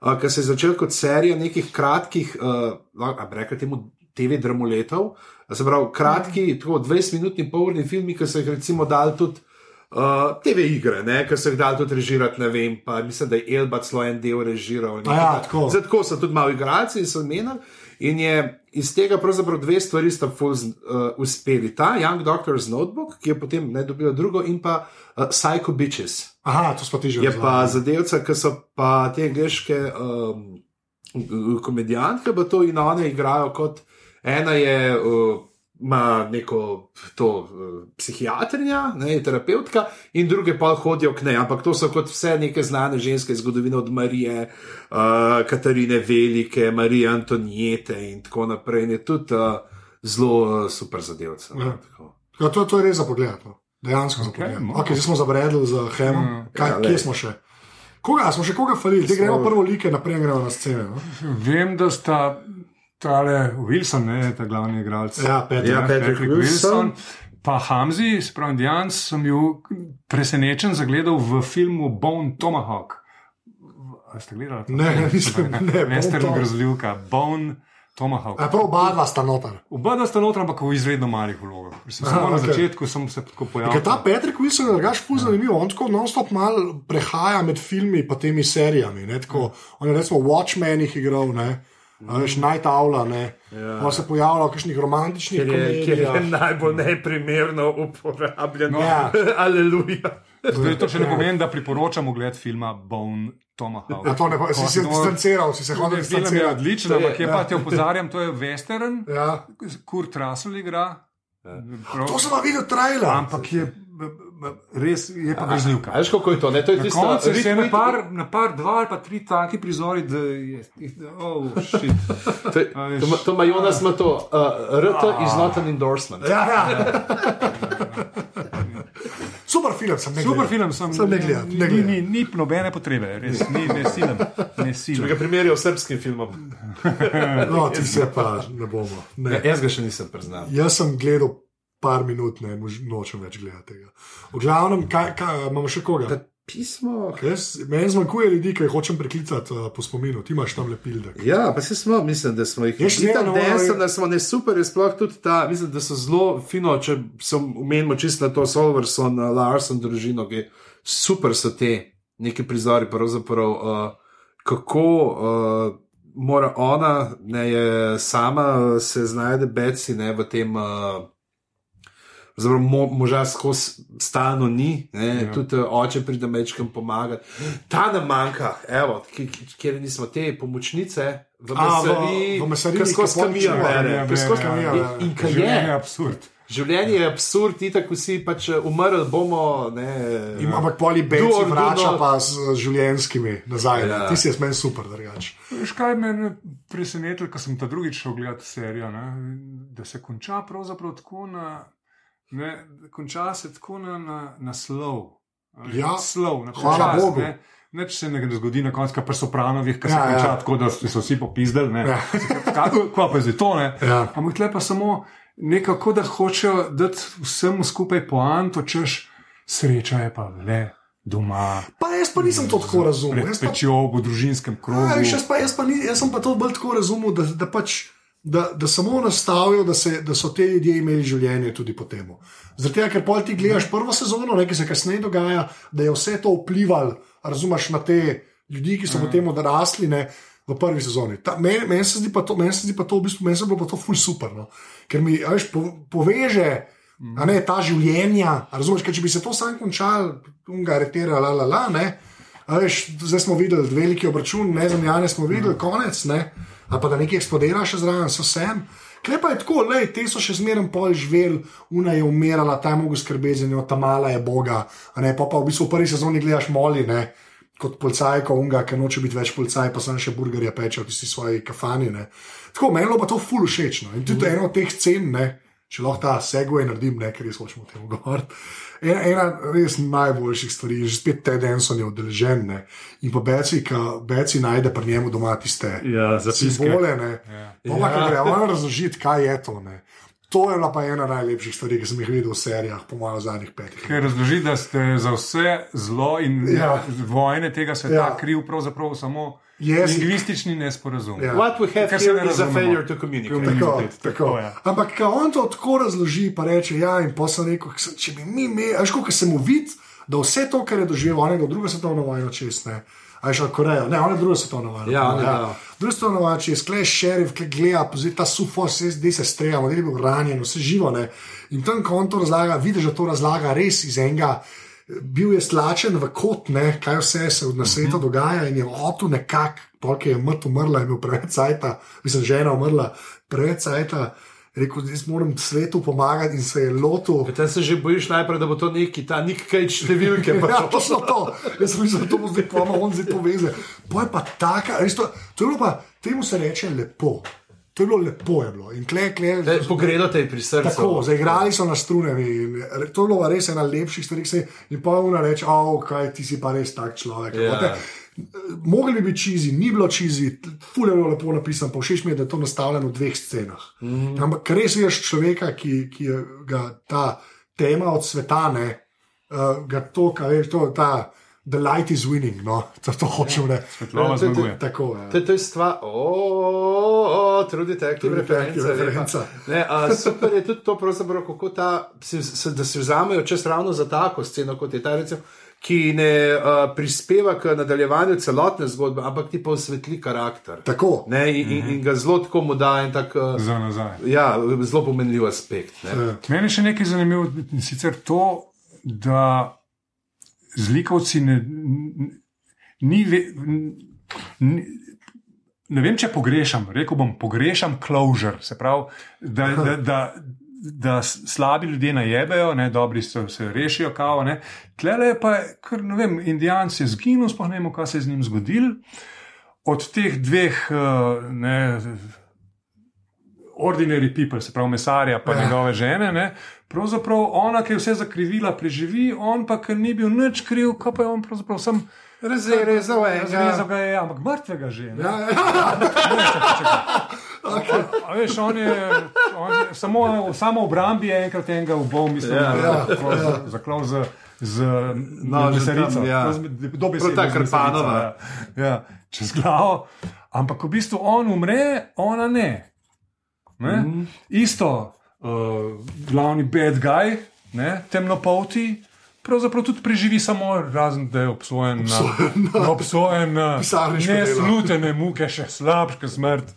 A: uh, ki se je začel kot serija nekih kratkih, uh, eh, no, a bi rekel temu TV dramoletov, se pravi kratki, tako 20-minutni polni filmi, ki so jih recimo dal tudi. Uh, TV igre, ne, ki so jih dal tudi režirati, ne vem, pa mislim, da je Elba celo en del režiral. nekaj
D: Aja,
A: tak-
D: tako.
A: Zdaj, tako so tudi malo igralci in so menili. In je iz tega pravzaprav dve stvari sta ful, z- uh, uspeli. Ta Young Doctor's Notebook, ki je potem ne dobila drugo, in pa uh, Psycho Bitches.
D: Aha, to smo ti že
A: Je
D: razlagali.
A: pa zadevca, ki so pa te angliške um, komedijantke, pa to in one igrajo kot ena je. Uh, Ima neko to uh, psihiatrinja, ne, je terapeutka, in druge pa hodijo k njej. Ampak to so kot vse neke znane ženske iz zgodovine, od Marije, uh, Katarine Velike, Marije Antonijete in tako naprej. In je tudi uh, zelo uh, super zadevca.
D: Ja.
A: Ja. Tako.
D: Ja, to, to je res za pogled. no. Dejansko za
B: Okej,
D: pogled.
B: no.
D: Okay, zdaj smo zabredli za Hemom. Mm, Kaj,
A: Ja,
D: ja,
A: lej.
D: kje smo še? Koga a smo še koga falili? Zdaj gremo
A: Smo-
D: prvo like, naprej gremo na scene. No?
B: Vem, da sta tale Wilson, ne, ta glavni igralec.
D: Ja, Peter.
E: Ja. Patrick Wilson.
B: Pa Hamzi, spravo Dijan, sem bil presenečen zagledal v filmu Bone Tomahawk. A ste gledali? to?
D: Ne, ne, nisem, ne, Bone
B: Western
D: Tomahawk.
B: grozljivka, Bone Tomahawk.
D: Ja, prav oba dva sta noter.
B: Oba da sta notra, ampak v izredno malih vlogah. Sem
D: Aha,
B: Samo na
D: okej.
B: začetku sem se tako
D: Ker
B: pojavil.
D: ta Patrick Wilson je drugač fuz zanimiv, on tako non-stop mal prehaja med filmi in temi serijami. ne, Tako, on je recimo v Watchmenih igral, ne? a veš, Night Aula, ne. Ja. On se pojavlja v kakšnih romantičnih
E: Ker je, ker je
D: komedijah.
E: najbolj neprimerno uporabljen.
B: No.
D: Ja.
E: Aleluja.
B: Zdaj, to še ne pomeni, da priporočam ogled filma Bone Tomahawk.
D: Ja, to ne, bo- si se
B: No,
D: distanciral, si se hodil
B: Film je
D: distancirati.
B: odličen, ampak je pa te opozarjam, to je western,
D: Ja.
B: Kurt Russell igra. Prav-
D: To sem pa videl trailer.
B: Ampak je b- b- res je pa grozljivka.
E: A veš, kako je to? Ne? To je
B: Na
E: tisto,
B: koncu
E: rit-
B: se je na
E: rit-
B: par, na par dva ali pa tri taki prizori, da je. da- Oh, shit.
E: To,
B: A veš.
E: to, ma- to ima Jonas, ima to. Uh, RT is not an endorsement.
D: Ja, ja. Super film, sem nekaj.
B: Super film, sem,
D: Sem ne gledal, ne
B: ni-
D: gledal.
B: Ni, ni nobene potrebe, res ni veselem. Ne
E: Če bi
B: silem.
E: ga primerjal s srpskim filmom.
D: No, ti se pa ne bomo.
A: Ja,
D: Ne.
E: Jaz ga še nisem priznal.
D: Jaz sem gledal par minut, ne mož- nočem več gledati tega. V glavnem, kaj, kaj, imamo še koga?
E: Pismo.
D: Jaz, meni zmanjkuje ljudi, ki jih hočem preklicati uh, po spominu, ti imaš tam lepilde.
E: Ja, pa se smo, mislim, da smo jih
D: Jaz še
E: videli.
D: zmeraj ne
E: Ne,
D: morem-
E: sem, da smo ne super, je sploh tudi ta, mislim, da so zelo fino, če se omenimo čisto na to Solverson, Larson, družino, ki super so te neki prizori, pravzaprav, uh, kako uh, mora ona, ne je sama, uh, se znajde beci ne, v tem. Uh, Zelo mo, moža skozi stalno ni, ja. tudi eh, oče pride mečkam pomagati. Ta nam manjka, evo, ki- ki- kjer nismo te pomočnice, v
D: A, v-
E: mesariji,
D: v mesariji,
E: ki skozi
D: ki pol
E: kamion
D: čuva,
E: bere,
D: ja,
E: ki skozi
D: ja, ja,
E: kamion.
D: ja.
E: In- In kaj
B: Življenje je
E: je,
B: absurd.
E: življenje je absurd, ti tako vsi pač eh, umrli bomo. Ne,
A: Ja.
D: In ampak poli beci
E: Do or do
D: vrača
E: not.
D: pa z življenskimi nazaj. Ja.
E: Ja.
D: Ti si jaz meni super, drugač.
B: Veš, kaj me je presenetilo, ko sem ta drugič šel gledati serijo, ne? da se konča pravzaprav tako na, ne, konča se tako na, na, na slov. A veš,
D: Ja,
B: slov, na
D: hvala
B: počast,
D: Bogu.
B: Ne? Neč se ne zgodi na koncu, kar pri sopranovih, ki se
D: Ja,
B: ja, konča
D: ja.
B: ja. tako, da so so vsi popizdali. ne.
D: Ja.
B: Kako kva pa je zdaj to? ne?
D: Ja.
B: Ampak tle pa samo nekako, da hočejo dati vsemu skupaj poanto, češ sreča je pa le doma.
D: Pa jaz pa nisem to tako razumel.
B: Pred
D: Jaz pa
B: pečjo v družinskem krogu.
D: Ja, veš, jaz, pa, jaz, pa ni, jaz sem pa to bolj tako razumel, da, da pač. Da, da samo nastavijo, da, se, da so te ljudje imeli življenje tudi po tem. Zaradi tega, ker pol ti gledaš prvo sezono, nekaj se kasneje dogaja, da je vse to vplivalo, razumeš, na te ljudi, ki so potem odrasli ne, v prvi sezoni. Ta- Meni men se zdi pa to, meni se zdi pa to, v bistvu, meni se bi pa to ful super, no. ker mi a veš, po, poveže. A ne, ta življenja, a razumeš, ker če bi se to sam končal, unga aretira, la la la, ne. A Veš, zdaj smo videli veliki obračun, ne znam, jane smo videli, konec, ne. Ali pa da nekaj eksplodira še zraven, so sem. Klepa je tako, le te so še zmeraj pol živel, una je umirala, ta je mogel skrbeti za njo, ta mala je boga. A ne, pa pa v bistvu v prvi sezoni gledaš moli, ne. Kot policaj, ko unga, ker noče biti več policaj, pa sem še burgerje peče v tisti svoji kafani. Ne. Tako, meni je bilo pa to ful všečno. In tudi mm. eno od teh cen, ne, če lahko ta segway naredim, ne, ker res hočemo o tem govoriti. Ena, ena res najboljših stvari, že spet te Denson je odeležen ne. in pa Beci, ki Beci najde pri njemu doma tiste No,
B: Ja,
D: simbole. Ne. Ja. Ona, ja. gre, ona razložiti, kaj je to. Ne. To je bila pa ena najlepših stvari, ki sem jih videl v serijah, po mojem, v zadnjih petih.
B: Ker razloži, da ste za vse zlo in ja.
D: Ja.
B: vojne tega sveta ja.
D: Ja.
B: kriv pravzaprav samo yes.
D: Jezik.
B: lingvistični nesporazum.
D: Ja.
A: What we have
B: Ker se
A: here
B: ne
A: is a
B: razumemo.
A: failure to communicate.
D: Tako,
B: Tako,
D: tako.
B: ja.
D: Ampak ko on to tako razloži, pa reče: Ja, in posem rekel, "K- če bi mi imeli, až kot sem uvid, da vse to, kar je doživel, onega drugo svetovno vojno čez ne. A je šel Korejo, ne, on je drugo svetovno vojno.
A: Ja,
D: ne,
A: ne, ja.
D: Drugo svetovno vojno čez, klej šerif, klej gleda, pozit ta sufo, se zdaj se streljamo, da je bil ranjen, vse živo. Ne. In tam, ko on to razlaga, vidiš, da to razlaga res iz enega. Bil je stlačen v kot, ne, kaj vse se na svetu dogaja, in je otu nekako, polk je mrtev, umrla, je imel preveč cajta, mislim, žena umrla, preveč cajta. Je Rekel, jaz moram svetu pomagati in se je lotil.
E: E,
A: Tam se že bojiš najprej, da bo to neki ta nek kaj številke. pač.
D: Ja, točno to. Jaz sem mislil, da to bo zdaj koma, on zdaj to veze. To je pa taka, res to, to je bilo pa, temu se reče lepo. To je bilo lepo, je bilo. In kle, kle,
A: Daj, Pogredo te je pri srcu.
D: Tako, zaigrali so na strunami. in To je bilo res ena lepših stvari, ki se jim ponovno reče, oh, kaj ti si pa res tak človek.
A: Ja.
D: Yeah. Mogli bi biti čizi, ni bilo čizi, fulje je bilo lepo napisano, pa všeč mi je, da je to nastavljeno v dveh scenah.
A: Mhm.
D: Mm. Ampak res veš človeka, ki, ki je ga ta tema od sveta, ne, uh, ga to, kaj veš, to, ta the light is winning, no, to, to hočem
A: Ja,
D: reči.
B: Lova
A: to- to-
B: zmaguje.
D: Tako eh. je.
A: To, to je stvar, o, trudi tekli,
D: True
A: referenca.
D: Detective
A: referenca.
D: referenca.
A: Ne, a, super je tudi to, pravzaprav, kako ta, si- se- da si vzamejo čas ravno za tako sceno, kot je ta, recimo, ki ne a, prispeva k nadaljevanju celotne zgodbe, ampak ti pa osvetli karakter.
D: Tako.
A: Ne, in, in,
B: Mhm.
A: in ga zelo tako mu da en tak, a,
B: Za nazaj.
A: ja, zelo pomenljiv aspekt.
D: eh.
A: Ne.
B: Meni je še nekaj zanimivo, in sicer to, da zlikovci ne, n- ni, ve, n- ni. Ne vem, če pogrešam, rekel bom, pogrešam closure, se pravi, da, da, da, da s- slabi ljudje najebejo, ne, dobri so, se rešijo, kao. ne. Tlele je pa, ker ne vem, Indijanci je zginil, sploh ne vemo, kaj se je z njim zgodil. Od teh dveh, eh, ne, ordinary people, se pravi mesarja, pa ja. njegove žene. Ne? Pravzaprav ona, ki je vse zakrivila, preživi, on pa, ker ni bil nič kriv, kaj pa je on pravzaprav sem.
A: Razrezal
B: Razrezal
A: enega.
B: ga je, ampak mrtvega že. ne.
D: Ja, ja.
B: A veš, on je, on je samo, samo obrambi je enkrat enega ubol, mislim,
A: Ja,
B: ja,
D: ja,
B: ja. zaklal z, z
A: Nožem
B: mesarico.
A: tam, ja.
B: Dobesedno
A: Prav ta
B: z mesarico,
A: Krpanova.
B: Ja, ja, čez glavo. Ampak v bistvu on umre, ona ne. ne? Mm. Isto, uh, glavni bad guy, ne? temnopolti. Pravzaprav tudi preživi samo, razen da je obsojen na, na, obsojen na
D: Pisarniško delo.
B: neslutene muke, še slabše smrt.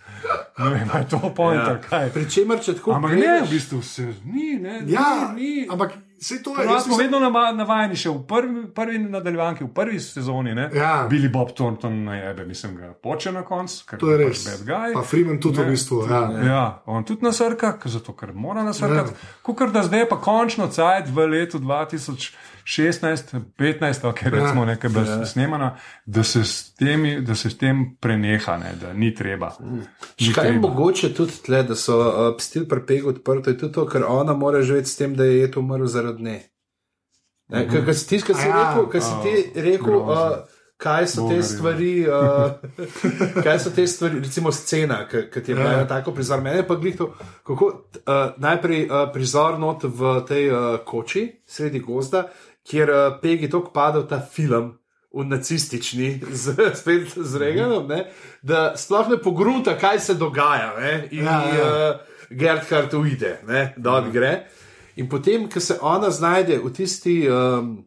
B: Ne vem, a je to point ali kaj.
A: Pričemer, če tako
B: Ampak ne, v bistvu se ni, ne,
D: ja,
B: ni. ni.
D: ampak se to je.
B: Mi
D: jaz
B: smo
D: mislim-
B: vedno nava- navajeni še v prvi, prvi nadaljevanki, v prvi sezoni. Ne?
D: Ja.
B: Bili Bob Thornton na jebe, mislim, ga poče na koncu, ker
D: To je
B: pač
D: res.
B: bad guy.
D: Pa Freeman tudi
B: Ne,
D: v bistvu. Ja.
B: Ja, on tudi nasrka, ker- zato ker mora
E: Ja.
B: nasrkati. Kukar da zdaj je pa končno cajt v letu 2016, 15,
E: Ja.
B: ok, recimo nekaj brez snemana, da se s, temi, da se s tem preneha, ne, da ni treba.
E: Hm.
B: Ni
A: Kaj je
B: treba.
A: mogoče tudi tle, da so uh, stil prepeg odprto, je tudi to, ker ona mora živeti s tem, da je to umrl zaradi nje. Ne, ker ker si ti, ki si
D: Aja,
A: rekel, ker si ti rekel
B: grozno.
A: uh, kaj so te
B: Bogarjevo.
A: stvari, uh, kaj so te stvari, recimo scena, ki ki ti je bila
D: Ja.
A: ena tako prizor. Mene pa glih to, kako uh, najprej uh, prizor not v tej uh, koči, sredi gozda, kjer uh, pegi tok padal ta film. V nacistični, z, spet z Reganom, ne, da sploh ne pogrunta, kaj se dogaja. Ne, in,
D: Ja,
A: ja,
D: ja.
A: ja Mhm. uh, Gerhard uide, ne, da odgre. In potem, ko se ona znajde v tisti um,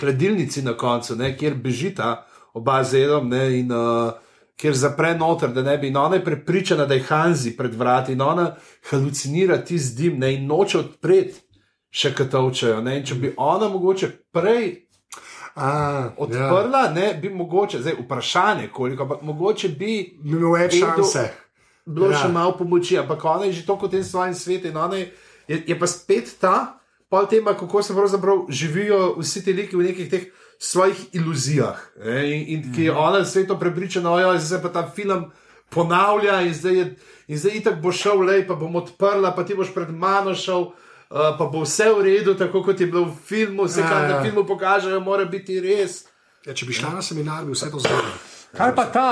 A: hladilnici na koncu, ne, kjer bežita oba z enom ne, in uh, kjer zapre noter, da ne bi. In ona je prepričana, da je Hanzi pred vrati in ona halucinira ti z dim ne, in noče odpreti. Še katovčejo. ne, in Če bi ona mogoče prej
D: A, ja.
A: odprla, ja. ne, bi mogoče, zdaj vprašanje, koliko, ampak mogoče bi
D: Bi imel več
A: vedel-
D: šanse.
A: bilo ja.
D: Ja.
A: še malo pomoči, ampak ona je že tako v tem svojem svetu in ona je, je, je pa spet ta, pol tema, kako se pravzaprav živijo vsi ti liki v nekih teh svojih iluzijah. Ne? In, in ki je
E: Mhm.
A: ona sveto prepričana, ojo, zdaj se pa ta film ponavlja in zdaj, je, in zdaj itak bo šel, lej, pa bom odprla, pa ti boš pred mano šel. Uh, pa bo vse v redu, tako kot je bilo v filmu, vse, kar
D: Ja,
A: na
D: ja.
A: filmu pokažejo, mora biti res.
D: Ja, če bi šla na seminar, bi vse to znala.
B: Kaj pa ta,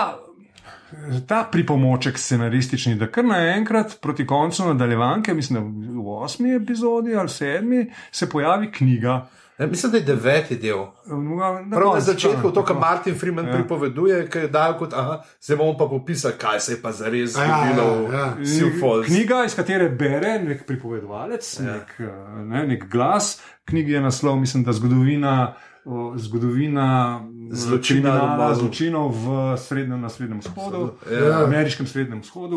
B: ta pripomoček scenaristični, da kar naenkrat proti koncu nadaljevanke, mislim, da v osmi epizodi ali sedmi, se pojavi knjiga.
E: Ne, Ja, mislim, da je deveti del.
B: Na,
E: Prav na
B: koncu,
E: začetku to, kar
B: tako.
E: Martin Freeman ja. pripoveduje, ki je dal kot, aha, zdaj bomo pa popisali, kaj se je pa zares
D: Ja, ja,
E: zgodilo
D: ja.
E: v Silfolds.
B: Knjiga, iz katere bere nek pripovedovalec, ja. nek, eh, ne, nek glas. Knjigi je naslov, mislim, da zgodovina. o, Zgodovina eh,
E: Zločina
B: kriminala,
E: Romanov.
B: zločinov v srednjem, na srednjem vzhodu,
E: Ja.
B: ja. ameriškem srednjem vzhodu,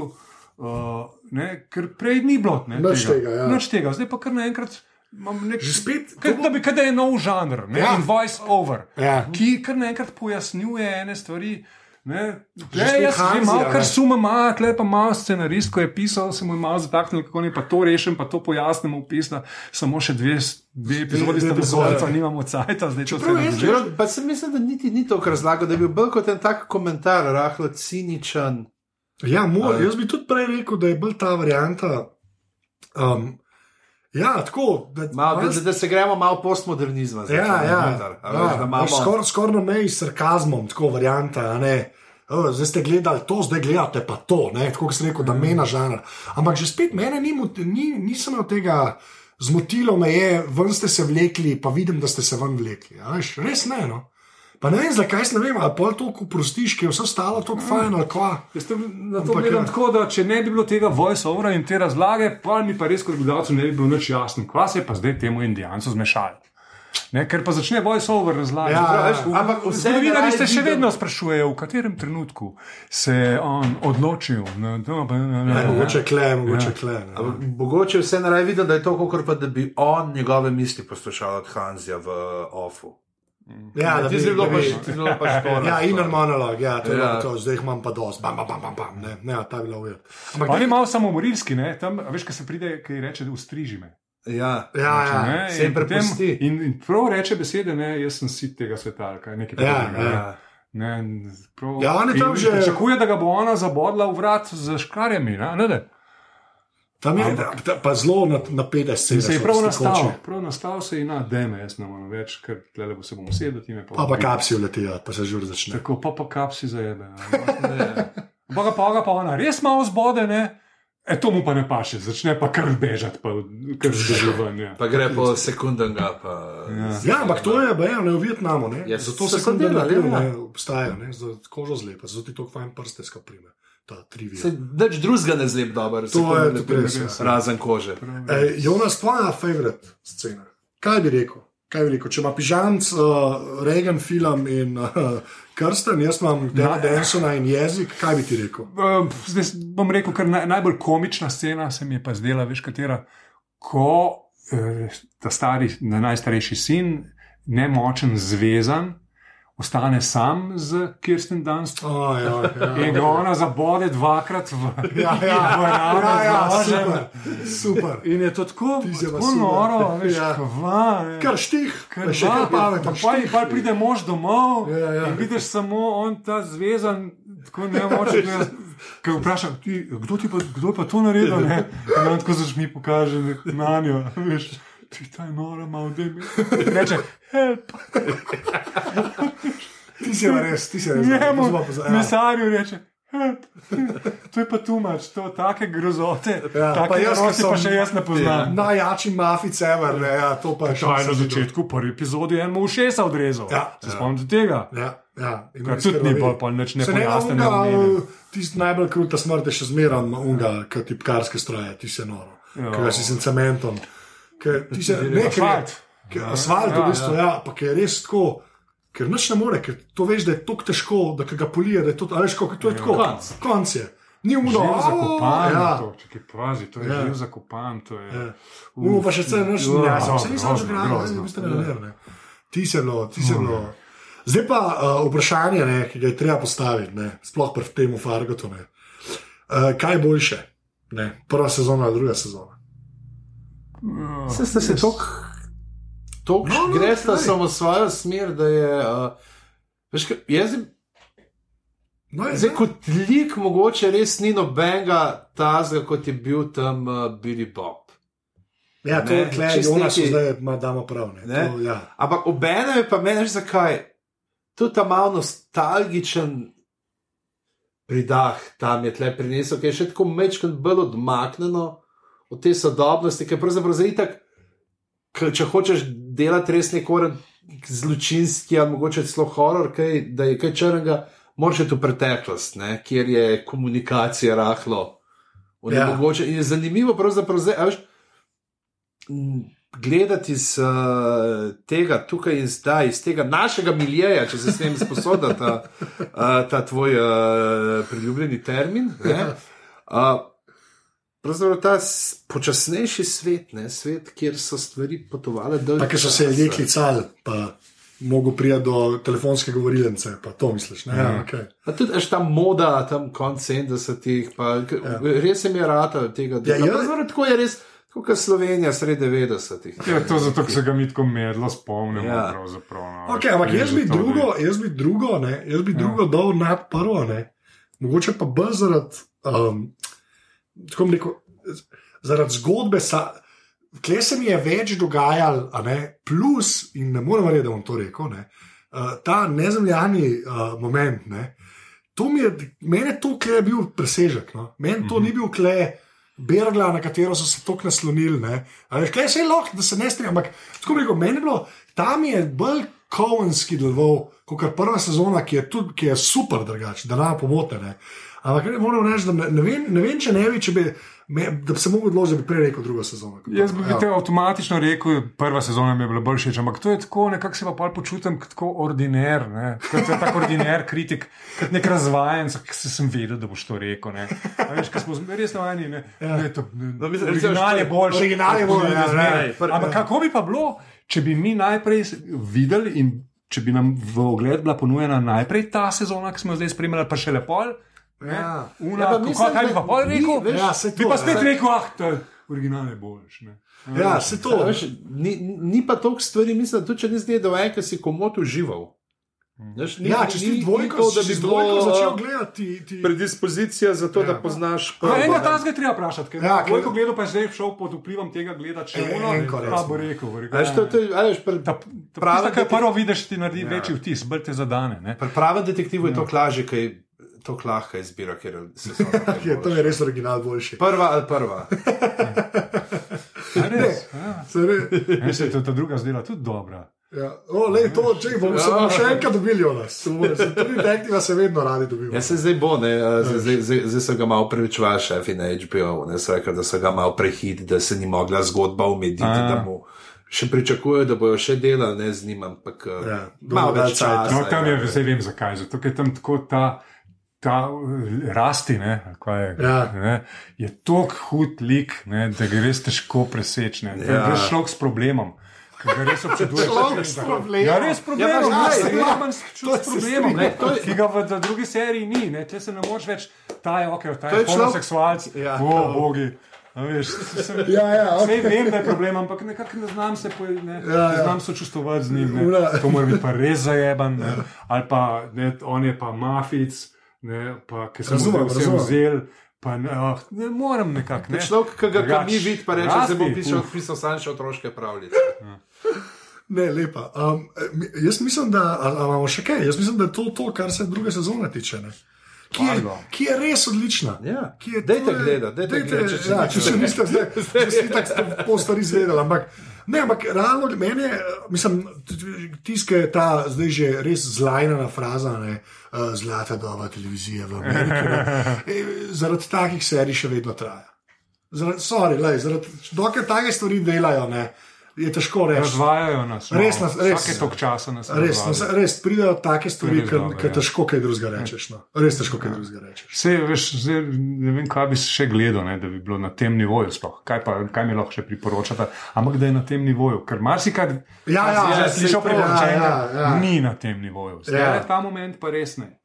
B: uh, ne, ker prej ni bilo. ne,
D: Nič tega, ja.
B: Nič tega, zdaj pa kar naenkrat imam nek.
D: Že spet,
B: Kaj, da bi kaj je nov žanr, ne,
D: Ja.
B: ja. in voice over,
D: Ja.
B: ki kar naenkrat pojasnjuje ene stvari. Ne, tle,
D: spet
B: jaz že
D: Hanzija,
B: malo
D: ne.
B: kar sumem, a tle pa malo scenarist, ko je pisal, se mu je malo zataknil, kako ne pa to rešim, pa to pojasnim, upisa, samo še dve, s- dve epizodi sta
D: dve
B: do
D: epizode.
B: konca, nimamo cajta, zdaj to se
E: Prav,
B: ne
E: jaz
B: že.
E: želim, pa sem mislil, da niti ni to, kar razlagal, da je bil bolj kot en tak komentar, rahlo ciničen.
D: Ja, moj,
E: Ali-
D: jaz bi tudi prej rekel, da je bolj ta varianta. Um, ja, tako. Da,
E: Mal, da, da se gremo malo postmodernizma. Zdaj,
D: Ja,
E: ne,
D: ja,
E: vendar, a veš, da
D: ja.
E: imamo-
D: Skoraj skor na meji s sarkazmom, tako varianta. a ne. O, Zdaj ste gledali to, zdaj gledate pa to, ne? tako kot sem rekel, da
E: Mm.
D: mena žanr. Ampak že spet mene ni, mot- ni, nisem od tega zmotilo, me je, ven ste se vlekli, pa vidim, da ste se ven vlekli. a Veš, res ne. No? Pa ne vem, zakaj se ne vem, ali pol to oprostiš, ki je vse ostalo tako
E: Mm.
D: fajn ali kva.
B: Jaz to na to
D: Ampak,
B: gledam
D: ja.
B: tako, da če ne bi bilo tega voice-overa in te razlage, pa mi pa res kot gledalcu ne bi bilo nič jasno, kva se je pa zdaj temu indijancu zmešalo. Ne, ker pa začne voice-over razlagati.
D: Ja,
B: Prav,
D: ja.
B: veš, v-
E: Ampak vse
B: Zgodovinari
E: raje
B: se še
E: vidim.
B: vedno sprašujejo, v katerem trenutku se je on odločil. Ne, da, ne, ne, ne,
D: Ne,
B: ne.
D: Ja, mogoče kle, mogoče kle. ne.
E: Ja, Ampak Mogoče vse naraj vidim, da je to, kot pa da bi on njegove misli poslušal od Hanzija v Ofu.
D: Ja, da
E: Ti
D: bi-
E: si bilo
D: da
E: pa
D: bi-
E: še ti bilo pa šport.
D: Ja, inner monolog, ja, to je
E: Ja.
D: ja. to, zdaj jih imam pa dosti, bam, bam, bam, bam, bam, ne, ne, ta je bila ujeta. Ampak
B: On je malo samomorilski, ne? tam, a veš, kaj se pride, ki reče, da ustriži me.
E: Ja.
D: Ja, ja.
B: Ne,
E: se jim
B: in potem-
E: prepusti.
B: In, in prav reče besede, ne, jaz sem sit tega sveta ali kaj nekaj
D: Ja,
B: podobnega.
D: ja.
B: ne. Ne, in prav,
D: Ja, on je tam
B: in
D: že-
B: Pričakuje, da ga bo ona zabodla v vrat z škarjami. Ne, ne, ne.
D: Tam je
B: Ampak-
D: ta- pa zelo na- napeta scena.
B: In se je
D: Ja, so
B: prav
D: vsi
B: nastal,
D: skočili.
B: prav nastal se je na deme, jaz ne morem več, ker tle bo se bom usedel. ti me
D: Pa pa
B: ubij.
D: kapsi uletijo, pa se žur začne.
B: Tako pa pa kapsi zajebe.
E: Ja.
B: Pa ga pa, ga pa ona res malo zbode, ne? E, to mu pa ne paše, začne pa kar bežati, pa kar zdržuje. Ja.
E: Pa gre po sekundanga. Pa...
B: Ja.
D: Ja, ampak to je bilo ne, v Vietnamu. Ne.
E: Ja,
D: zato
E: so-
D: se
E: so
D: tam dela,
E: delali, ja.
D: ne obstajajo, ne, za kožo zlepa, zato ti to fajn prste skaprime, ta trivija.
E: Se nič drugega ne zlep dobro,
D: To je
E: sekundanga,
D: tudi res, ja.
E: razen kože.
D: E, Jonas, tvoja favorit scena. Kaj bi rekel? Kaj bi rekel? Če ima pižamc, uh, Reagan film in uh, krsten, jaz imam Dana Densona in jezik, kaj bi ti rekel?
B: Eh, Zdaj s- bom rekel, kar naj, najbolj komična scena se mi je pa zdela, veš, katera, ko eh, ta stari, na- najstarejši sin, nemočen, zvezan, ostane sam z Kirsten Dunst.
D: Oh, ja,
B: In ga ona zabode dvakrat v
D: ja, ja,
B: v ramo
D: ja, ja,
B: z nožem.
D: super,
B: ja.
D: super.
B: In je to tako,
D: Ti si pa
B: tako
D: super.
B: noro, veš,
D: Ja.
B: ja. kva. ne.
D: Kar štih,
B: Kar
D: kar še kar pameten.
B: pa je, pa pride mož domov ja,
D: Ja, ja.
B: ja. in vidiš samo on ta zvezan, tako nemočen. da- Kaj vprašam, ti, kdo, ti pa, kdo je pa to naredil? Ne? In on tako začne pokaže na njo, veš, ti ta je nora, malo demi. Reče, help,
D: Ti si pa res, ti si res.
B: njemu,
D: dobro, to smo pa poza- ja.
B: mesarju reče. "Help." To je pa tumač, to take grozote,
D: Ja,
B: ja,
D: pa
B: take
D: jaz, ki
B: grozote pa
D: sem-
B: še jaz ne poznam.
D: Najjači mafic ever, ne, ja, to pa je
B: Kaj je na
D: sem videl.
B: začetku, prvi epizodi, enemu v šesa odrezal.
D: Ja.
B: se spomnite tega?
D: Ja, ja, in
B: Kar
D: res
B: tudi ni
D: krvavi.
B: bolj pol nič
D: Se
B: nepojasnjeno
D: ne, unga,
B: omenjeno.
D: Tisti najbolj kruta smrt je še zmeraj unga, kot tipkarske stroje, ti se noro,
B: Ja.
D: ki ga si s cementom. Ker ti se ne
B: Asfalt.
D: Ker asfalt v
B: Ja,
D: bistvu, ja, pa ker je res tako. Ker nič ne more, ker to veš, da je tako težko, da ke ga polije, da je to, a veš, kako
B: Ja,
D: to je tako.
E: konc.
D: Konc je. Ni umno,
B: Živ zakopan,
D: ja.
B: to, čakaj, pazi, to je
D: Ja.
B: živ zakopan. to je-
D: Ja. Umo pa še vse noč
B: Ja,
D: ne jasno, vse nisem že
B: grozno,
D: gledal,
B: grozno.
D: vse ne vem. Ti se bilo, ti se bilo. Zdaj pa uh, vprašanje, ne, ki ga je treba postaviti, ne, sploh pri tem Fargotu. ne. Uh, kaj je boljše? Ne, prva sezona ali druga sezona?
E: Se ste se tako, tako
D: No, no,
E: no, greš
D: daj.
E: samo v svojo smer, da je. Uh, veš, kaj, jaz,
D: No, je,
E: zdaj, kot lik, mogoče res ni nobenega tazga, kot je bil tam uh, Billy Bob.
D: ja, to je
E: ne,
D: klej,
E: čisto
D: Jonas,
E: neki-
D: zdaj ima damo prav. Ne,
E: Ne?
D: to, ja.
E: Ampak obenem je pa meni, veš zakaj, tudi ta malo nostalgičen.
A: pridah tam je tle prinesel, ki je še tako mečken bolj odmaknjeno od te sodobnosti, ki je pravzaprav zdaj tako, če hočeš delati res nekoren zločinski ali mogoče celo horor, kaj, da je kaj črnega, moraš iti v preteklost, ne, kjer je komunikacija rahlo.
F: Ja.
A: onemogočena. In je zanimivo pravzaprav zdaj, a veš, m, gledati iz uh, tega tukaj in zdaj, iz tega našega milijeja, če se s tem sposoda ta, uh, ta tvoj uh, priljubljeni termin. Ne,
D: Ja.
A: uh, Pravzaprav ta s- počasnejši svet, ne, svet, kjer so stvari potovale do
D: Pa, ker so se ljudje klicali, pa mogo prija do telefonske govorilnice, pa to misliš. Ne? Ja, okay.
A: Pa tudi veš, ta moda, tam konc 70-ih, pa k- res se mi je rata od tega.
D: Ja,
A: Ja,
D: ja.
A: ja. Tako je res, tako kot Slovenija sredi 90-ih.
B: Ja, to je zato, ker se ga mi tako medlo spomnimo.
A: Ja.
B: Ja. No,
D: Okay, ampak
B: Je
D: jaz
B: že
D: bi
B: to, Ja.
D: drugo, jaz bi drugo, ne? jaz bi drugo dal na prvo, ne? mogoče pa bolj zaradi, um, tako bom rekel, zaradi zgodbe. Sa, Kle se mi je več dogajalo, a ne, plus, in ne morem reči, da bom to rekel, ne, uh, ta nezemljani uh, moment. Ne, to mi je, mene to kle je bil presežek. No. Meni to mm -hmm. ni bil kle bergla, na katero so se tako naslonili. ne. A veš, Kle je vse lahko, da se ne strinjam, ampak tako bi rekel, meni je bilo, tam je bolj kovenski deloval, kot kar prva sezona, ki je, tudi, ki je super drugače, da nam pomotene. Ampak ne moram reči, da ne, ne, vem, ne vem, če ne bi, če bi, me, da bi se mogel odločiti, da bi prej rekel drugo sezono. kot
B: Jaz bi
D: prvo.
B: ja. te avtomatično rekel, prva sezona mi je bila bolj všeč, ampak to je tako, nekako se pa pol počutim kot tako ordiner, ne, kot je tako ordiner kritik, kot nek razvajen, ker se sem vedel, da boš to rekel. Ne. A Veš, ker smo z- res navadni, ne, ja. ne, to, ne,
A: No,
B: no,
A: mislim,
B: mislim,
A: recimo,
B: original je
A: što-
B: boljši.
D: original je
B: kot
D: bolj, ja,
B: zmeraj.
A: ja, ja, prvi,
B: Ampak kako bi pa bilo, če bi mi najprej s- videli in če bi nam v ogled bila ponujena najprej ta sezona, ki smo jo zdaj spremljali, pa še lepo.
A: Ja.
B: Ja. Una,
A: Ja,
B: ja,
A: pa
B: pa
A: mislim,
B: kako, kaj bi
A: da
B: pa pol
A: ni,
B: rekel?
A: veš,
D: Ja, saj
B: bi
D: to,
B: pa
D: ja.
B: spet rekel, ah, to je original je boljši. ne.
D: Ja, se
A: A
D: to.
A: Veš, ni, ni- ni pa toliko stvari, mislim, da tudi če nisi gledal en, ki si komod užival. Veš, ni,
D: Ja, če si dvojko, da bi dvojko začel gledati. Ti...
A: predispozicija za to, ja.
D: Ja.
A: da poznaš
B: Ja, enega
A: ne.
B: ta zgolj treba vprašati, ker
D: Ja,
B: ja,
D: ker-
B: koliko gledal pa je zdaj šel pod vplivom tega gleda, če
D: E,
B: ono,
D: enko,
B: pa
D: recimo.
B: bo rekel. bo rekel
A: A Veš, to, to, je- a veš, pri,
B: Ta, ta
A: prava
B: prava, ki
A: detek-
B: prvo vidiš, ti naredi ja. večji vtis, bolj te zadane. Ne?
A: pri pravem detektivu je to lažje, ker je to lahka izbira, ker se Ja,
D: Je, to je res original boljši.
A: Prva ali prva.
B: A Res, ja.
D: Se re-
B: Ja, se to ta druga zdela tudi dobra.
D: Ja. O, lej, to, če bomo
A: Ja.
D: se bomo še enkrat dobili, od nas. Se bomo- se Tudi detektiva se vedno radi dobimo.
A: Ja, se zdaj bo, ne, a, zdaj- zdaj- zdaj zdaj so ga malo prevečvali šefi na HBO, ne so rekli, da so ga malo prehit, da se ni mogla zgodba umediti,
B: A.
A: da mu še pričakujejo, da bojo še delali, ne z njim, ampak ja,
D: Ja,
A: malo
D: dobro,
A: več
D: da časa,
A: časa.
B: No, tam je,
A: ja.
B: zdaj vem zakaj, zato ker je tam tako ta. Ta eh, rasti, ne, ali kaj je,
D: Ja.
B: ne, je tako hud lik, ne, da ga res težko presečne.
A: Ja.
B: Ja. Greš človek s problemom, ki ga res občuduješ.
D: Človek s problemom.
B: Ja, res
A: Ja,
B: problemom,
A: pa
B: ja,
A: res,
B: res,
A: ja.
B: res,
D: To
B: človek s
D: se
B: problemom, ne,
A: strinjam. To je-
B: ki ga v v drugi seriji ni, ne, tle se ne moreš več, ta je ok, ta
A: To je
B: je
A: človek-
B: homoseksualc,
A: Ja.
B: o bogi. a Veš, se, se,
D: Ja, ja,
B: Sej
D: okej.
B: vem, da je problem, ampak nekako ne znam se poj- ne,
D: Ja,
B: ne
D: ja.
B: znam sočustvovati z njim.
D: Ura.
B: Ne. To mora biti pa res zajeban. Ne. Ali pa ne, on je pa mafic, ne, pa, ki sem
D: Razumem,
B: ga vse
D: razumem.
B: vzel. Pa ne, oh, ne morem nekako. Ne.
A: Človek, ki ga
B: Drugač,
A: kam ni videl, pa reče, da se bo
B: rasti,
A: pisal,
B: uf.
A: pisal sam še otroške pravljice.
D: Ne, lepa. Um, mi- jaz mislim, da ali- ali imamo še kaj. Jaz mislim, da je to to, kar se druge sezone tiče. Ne? Ki je,
B: Fargo.
D: ki je res odlična.
A: Ja.
D: Ki je-
A: Dajte
D: to je-
A: gledat, dajte gledat, če še
D: ja,
A: niste
D: če še
A: gledali.
D: niste zdaj, če ste tako pol stvari izvedeli. Ampak, ne, ampak realno meni je, mislim, tiska je ta zdaj že res zlajna fraza, ne, eh, zlata doba televizije v Ameriki. ne. Eh, Zaradi takih serij še vedno traja. Zaradi, sorry, lej, zaradi, dokler take stvari delajo, ne, je težko reči.
B: Razvajajo nas. no.
D: Res nas- res.
B: Vsake tok časa nas
D: Res,
B: razvajajo.
D: nas, res pridejo take stvari,
B: res
D: ki
B: dobro,
D: ja.
B: ja.
D: težko kaj drugega rečeš. No. Res težko kaj drugega rečeš.
B: Vse, veš, zdaj, ne vem, kaj bi še gledal, ne, da bi bilo na tem nivoju. Sploh. Kaj, pa, kaj mi lahko še priporočate, ampak da je na tem nivoju. Ker marsikaj,
D: Ja,
B: kar
D: ja,
B: si
D: ja,
B: že slišal
D: sej to,
B: priporočenega,
D: ja, ja, ja.
B: ni na tem nivoju. Zdaj
D: Ja.
B: je ta moment, pa res ne.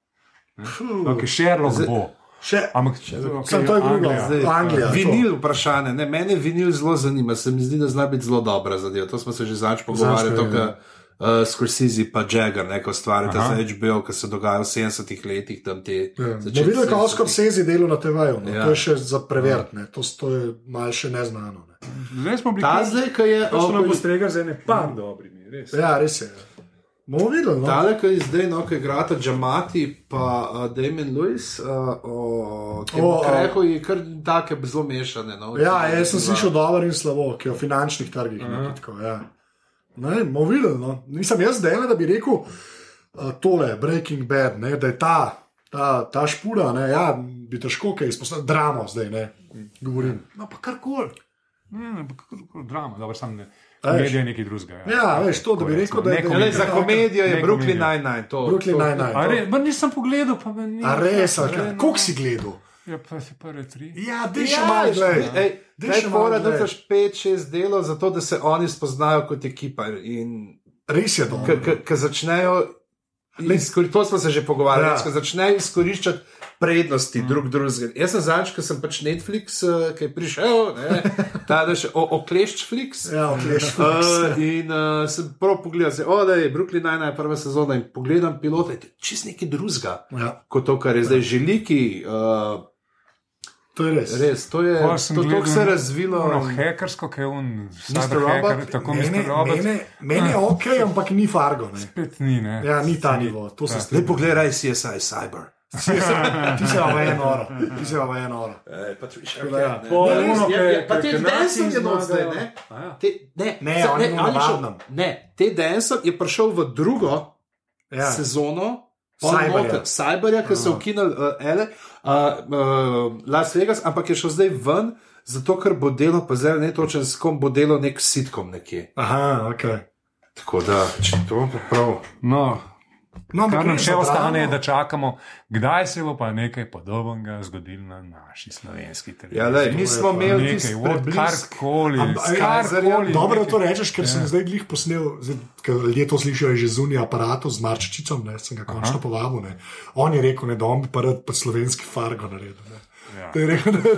B: Okay, Sherlock bo.
D: Še,
B: Ampak če
D: Samo to je drugo, zdaj- Anglija, to.
A: Vinil, vprašanje. Ne, mene vinil zelo zanima, se mi zdi, da zna biti zelo dobra zadeva. To smo se že zadnjič pogovarjali, to,
D: Zadnjič,
A: kar
D: ja.
A: uh, Scorsese pa Jagger, neko stvar, ta
B: Aha.
A: za HBO, ki se dogaja v 70-ih letih, tam te.
D: ja.
A: začetki
D: Ne videl, kako
A: 70-ih.
D: Oskar Sezi delo na TV-ju, no.
A: Ja.
D: ja. to je še za preveriti, ne. to, s- to je malce še neznano. Ne.
B: Zdaj smo bili
A: Ta zdaj, ki je.
B: To so nam
A: okoli-
B: postregli z ene par dobrimi, res.
D: Ja, res je. Bomo videli. No?
A: Tale, ki je zdaj, no, ki igrata Džamati, pa uh, Damien Lewis, uh, o tem
D: O,
A: oh,
D: a-
A: krehu je kar take zelo mešane. No,
D: Ja, jaz sem
A: Dva.
D: slišal dobro in slabo, ki je o finančnih trgih. nekaj tako, Ja. Ne, bomo videli, no. Nisem jaz zdaj, da bi rekel uh, tole, Breaking Bad, ne, da je ta, ta, ta špura, ne, ja, bi težko kaj izpostavil, dramo zdaj ne, govorim.
B: No, pa karkoli. Ne, ne, pa karkoli, drama, dobro, sam ne.
D: veš.
B: Komedija je nekaj drugega.
D: Ja, veš, to, da bi rekel, da je-
A: Ja, lej, za
D: Taka-
A: komedijo je
B: ne
A: Brooklyn
B: komedija.
A: Nine-Nine. to-
D: Brooklyn
A: to-
D: Nine-Nine.
B: A re, ma nisem pogledal, pa me ni.
D: A res,
B: Ja,
D: a
B: ne,
D: kaj-
B: no.
D: koliko si gledal?
B: Ja, pa si prve tri.
D: Ja, dej še
A: Ja,
D: malo,
A: ej,
D: gledaj.
A: ej,
D: Daj
A: Zdaj
D: še malo
A: mora
D: glej.
A: da kaš 5-6 delov, zato da se oni spoznajo kot ekipa. In
D: Res je dobro.
A: ki začnejo, izkor, to smo se že
D: Ja.
A: pogovarjali, ja. začnejo izkoriščati prednosti mm. drug drugega. Jaz sem zadnjič, ko sem pač Netflix, eh, ki je prišel, ne, ta da še oklešč Flix.
D: Ja, oklež.
B: Eh,
A: Uh, in uh, sem prav pogledal, da je Brooklyn najna prva sezona in pogledam pilota, je čist nekaj drugega
D: Ja,
A: kot to, kar je zdaj želiki. Uh,
D: to je res.
A: res, to
D: Ja,
A: je
B: Pol sem
A: to, to
B: gledal
A: se je razvilo.
B: Ono hekersko, ki je on,
A: Mr.
B: cyber
A: Robot?
B: hacker, tako
D: um, Mene,
B: Mr. Robert. Ah.
D: mene, meni je ok, ampak ni fargo. Ne.
B: Spet ni, ne.
D: Ja, ni ta nivo, to
A: Zdaj
D: se strinjam.
A: poglej, raj CSI Cyber.
B: Ja.
D: Ti si imel eno oro, ti si imel eno oro.
B: Po
A: Ne, res,
B: ono,
A: je-
B: ke-
A: je- pa
B: ke-
A: te
B: ke
A: Denson
B: Nazi
A: je not zdaj,
B: zmagajo.
A: ne?
B: A ja.
A: Te, ne,
D: Ne,
A: se-
D: on je
A: ne,
D: bil
A: ali
D: na
A: šel-
D: varnem.
A: ne, te Denson je prišel v drugo ja.
D: Ja.
A: sezono.
D: Cyberja.
A: Cyberja, ki so ukinili uh, L.A., uh, uh, Las Vegas, ampak je šel zdaj ven, zato ker bo delo, pa zdaj ne točen, s kom bo delo nek sitkom nekje.
D: Aha, ok.
A: Tako da, če to bom prav.
B: No,
D: No,
B: kar nam še ostane, je, da
D: da
B: čakamo, kdaj se bo pa nekaj podobnega zgodilo na naši slovenski televiziji.
A: Ja, lej, mi smo imeli tisti
B: nekaj, od
A: preblisk.
B: karkoli,
D: Ampak,
B: s
D: ja,
B: karkoli.
D: Dobro, da
B: nekaj.
D: to rečeš, ker
B: Ja.
D: sem zdaj glih posnel, zdaj, ker ljudje to slišijo je že zunaj aparata z Marčičicom, ne, sem ga končno povabil. Ne. On je rekel, ne, da on bi pa rad pod slovenski fargo naredil. Ne,
B: Ja.
D: Da je rekel, ne,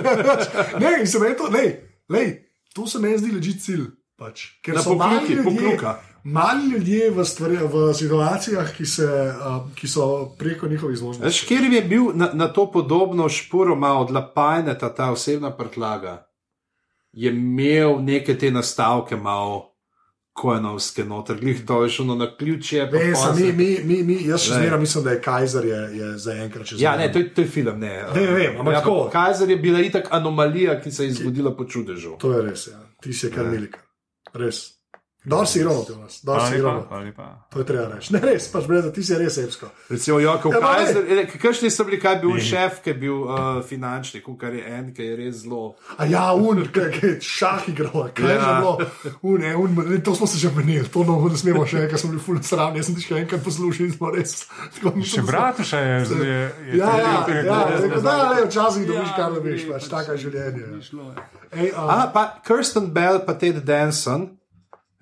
D: ne, in se meni to, ne, lej, to se meni zdi leži cilj. Pač. Ker
A: Da
D: so mali
A: pokluki,
D: ljudje,
A: pokluka.
D: mali ljudje v, stvari, v situacijah, ki, se, uh, ki so preko njihovih zmožnosti.
A: Veš, kjer jim je bil na, na to podobno šporoma od Lapajne, ta, ta osebna prtljaga, je imel neke te nastavke, malo kojenovske noter, glih to je šlo na ključje. pa
D: Veš,
A: pol
D: mi,
A: se-
D: mi, mi, mi, jaz še
A: Glej.
D: zmeraj mislim, da je Kajzer je, je za enkrat še
A: Ja,
D: zmeraj.
A: ne, to je, to je film. Ne,
D: Ne vem, ampak tako.
A: Kajzer je bila itak anomalija, ki se je zgodila po čudežu.
D: To je res, ja. ti si je kar milika. Res. Dor
A: Ja.
D: si irono, ti nas, dor
B: Hvala
D: si
B: lepa,
D: irono.
B: hvala lepa.
D: To je treba reči. Ne, res, pač brez, ti si res evsko.
A: Recimo, Jokov
D: Ja, pa
A: Kajzer, e, kakšni so bili, kaj je bil šef, ki je bil uh, finančni, kar je en, ki je res zelo.
D: A ja, un, kaj je šah igral, kaj je že
A: Ja.
D: bilo. Un, ne, un, ne, to smo se že menili, to no, ne smemo še, ker smo bili fulno sravni, jaz sem ti še enkrat poslušal in smo res. tako
B: Še
D: mislim, da smo-
B: bratuša je zdaj.
D: Ja, ja, ja, rekel, da, le, včasih dobiš,
B: Ja,
D: kar dobiš,
B: gre,
D: pač
B: pač
D: taka
B: se
D: življenja.
B: ni šlo, ja.
D: Ej, a,
A: A, pa Kirsten Bell in Ted Danson,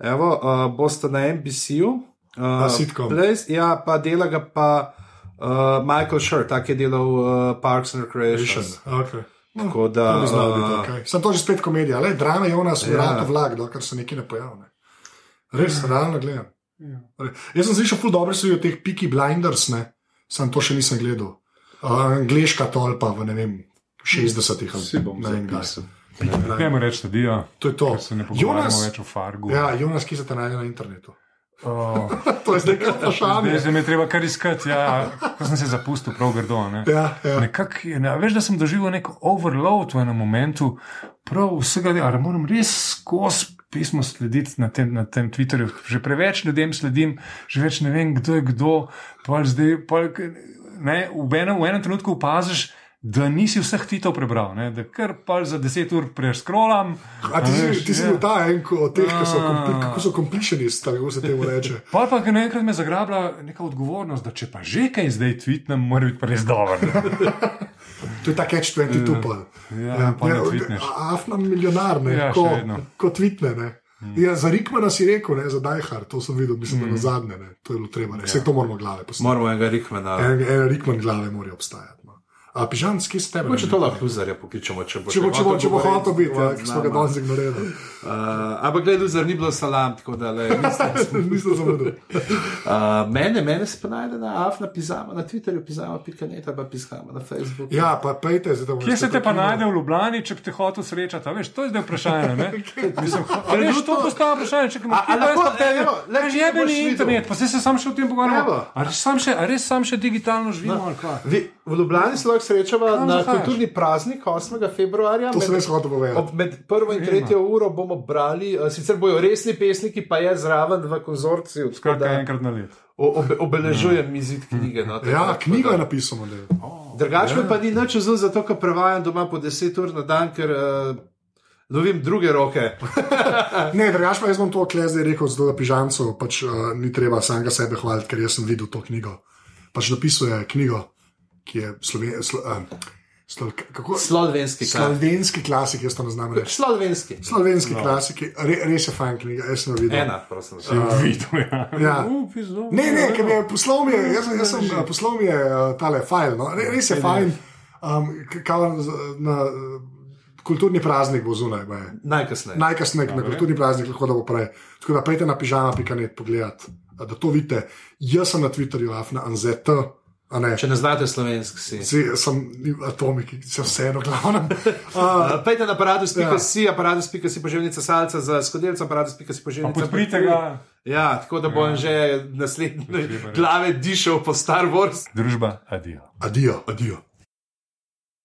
A: evo, uh, boste na NBC-ju. Uh,
D: A, sitcom.
A: Place, ja, pa dela ga pa uh, Michael Schur, tak je delal uh, Parks and Recreation.
D: Okay.
A: Tako da,
D: Ne znam, da je to
A: uh,
D: okay. Sem to že spet komedija, le drame je ona,
B: Ja.
D: sem rado vlak, dokler se nekaj ne pojavi. Ne. Res, realno gledam.
B: Ja.
D: Re- Jaz sem slišal, ful dobro so jo teh Piki Blinders, ne. sem to še nisem gledal. Uh, angliška tolpa v ne vem, 60-ih ali ne vem kdaj. Peaky Blinders.
B: Dajmo reči, da je.
D: To je to.
B: Ker se ne pogovarjamo
D: Jonas-
B: več o Fargu.
D: Ja, Jonas, ki se te najde na internetu.
B: Oh,
D: to je zdaj kar
B: zdaj,
D: vprašanje.
B: zdaj me je treba kar iskati, ja, ko sem se zapustil, prav grdo. Ne?
D: Ja, ja.
B: Nekak, je, ne, veš, da sem doživel nek overload v enem momentu, prav vsega dela. Ali moram res skozi pismo slediti na tem, na tem Twitterju. Že preveč ljudem sledim, že več ne vem, kdo je kdo. Pol zdaj, pol, k- ne, v, enem, v enem trenutku opaziš. Da nisi vseh tvitev prebral, ne? da kar pa za 10 ur preskrolam.
D: A ti si,
B: ja.
D: ti si bil ta en ko- od teh, ki so, kompli,
B: Ah.
D: kako so completionist, ali kako se temu reče.
B: Pa pa je enkrat me zagrabila neka odgovornost, da če pa že kaj zdaj tvitnem, mora biti pa res dobro. ne.
D: To je ta catch 22 pol.
B: Ja, pa ne tvitneš.
D: Afna milijonar, ne,
B: Ja,
D: ja,
B: še Mm.
D: ko,
B: vedno.
D: ko tvitne. Ne. Ja, za Rikmana si rekel, ne, za Dajhar, to sem videl,
B: Mm.
D: mislim, da na zadnje,
B: Ja.
D: ne. to je bilo treba, ne. vse to moramo glave poslušati.
A: moramo enega Rikmena.
D: En, en Rikman glave mora obstajati. No. A pižam, skis tebe.
A: Mogoče to lahko luzarja pokličemo, če bo
D: Če bo, če bo, če bo
A: govoriti,
D: hotel biti, ja,
A: govoriti
D: ki
A: z
D: smo ga
A: nama.
D: danes ignorirali.
A: Uh, ampak gledaj, luzar ni bilo salam, tako da le. mislim.
D: Nisem zavedel.
A: Uh, mene, mene se pa najde na afna pizama, na Twitterju pizama, pika neta, pa pizama na Facebooku.
D: Ja, pa pejte, zdaj da bomo.
B: Kje se te pa najde v Ljubljani, če bi te hotel srečati? A Veš, to je zdaj vprašanje. Ne? Mislim, a veš, to postaje vprašanje, če
A: A- a lahko- evo, le,
B: imaš
A: če ga boš
B: jebeni
A: videl.
B: internet, pa se, se sam še o tem pogovarjamo.
A: Evo.
B: A res sam še, a res sam še digitalno živimo? ali kaj?
A: Vi, v Ljubljani se lahko srečava
B: Kam
A: na
B: zahajaš?
A: kulturni praznik 8. februarja.
D: To sem
A: med-
D: res hotel povedati.
A: Ob med prvo in tretjo uro bomo brali, eh, sicer bojo resni pesniki, pa je zraven v konzorciju. tako
B: Skratka,
A: da
B: enkrat na let.
A: o- obe- Obeležujem izid knjige. No, tako da-
D: Ja, knjigo je Ja. napisal. model.
A: Drugače me pa ni nič zelo, zato ker prevajam doma po 10 ur na dan, ker uh, lovim druge roke.
D: Ne, drugač pa jaz bom to klej zdaj rekel, zelo da pižamcu, pač uh, ni treba samega sebe hvaliti, ker jaz sem videl to knjigo. Pač napisal je knjigo, ki je sloven, slo, uh, slo, kako,
A: Slovenski kaj.
D: slovenski klasik, jaz to ne znam reči.
A: Slovenski.
D: Slovenski no. klasik, re, res je fajn knjiga, jaz sem jo videl.
A: Ena, prosim.
B: Si jo videl, ja.
D: ja.
B: U, pizdo.
D: Ne, ne, ker mi je poslal, mi je, jaz, sem- jaz sem eh, poslal mi je eh, tale file, no. Re, res je fajn, um, kao z- na eh, kulturni praznik bo zunaj. baje.
A: Najkasneje.
D: Najkasneje, na kulturni praznik, lahko da bo prej. Tako da pejte na pižama.net pogledat, da to vidite. Jaz sem na Twitterju, afna, anzet, a ne.
A: Če ne znate slovenski, si.
D: Zdaj sem atomik, sem vseeno glavnem.
A: Uh, Pejte na
B: Ja.
A: aparatus.si, aparatus.si poživnica salca za skodelico, aparatus.si
B: Pa
A: poživnica.
B: Podprite ga,
A: Ja, tako da bom že naslednje glave dišal po Star Wars.
B: družba, adijo.
D: Adijo, adijo.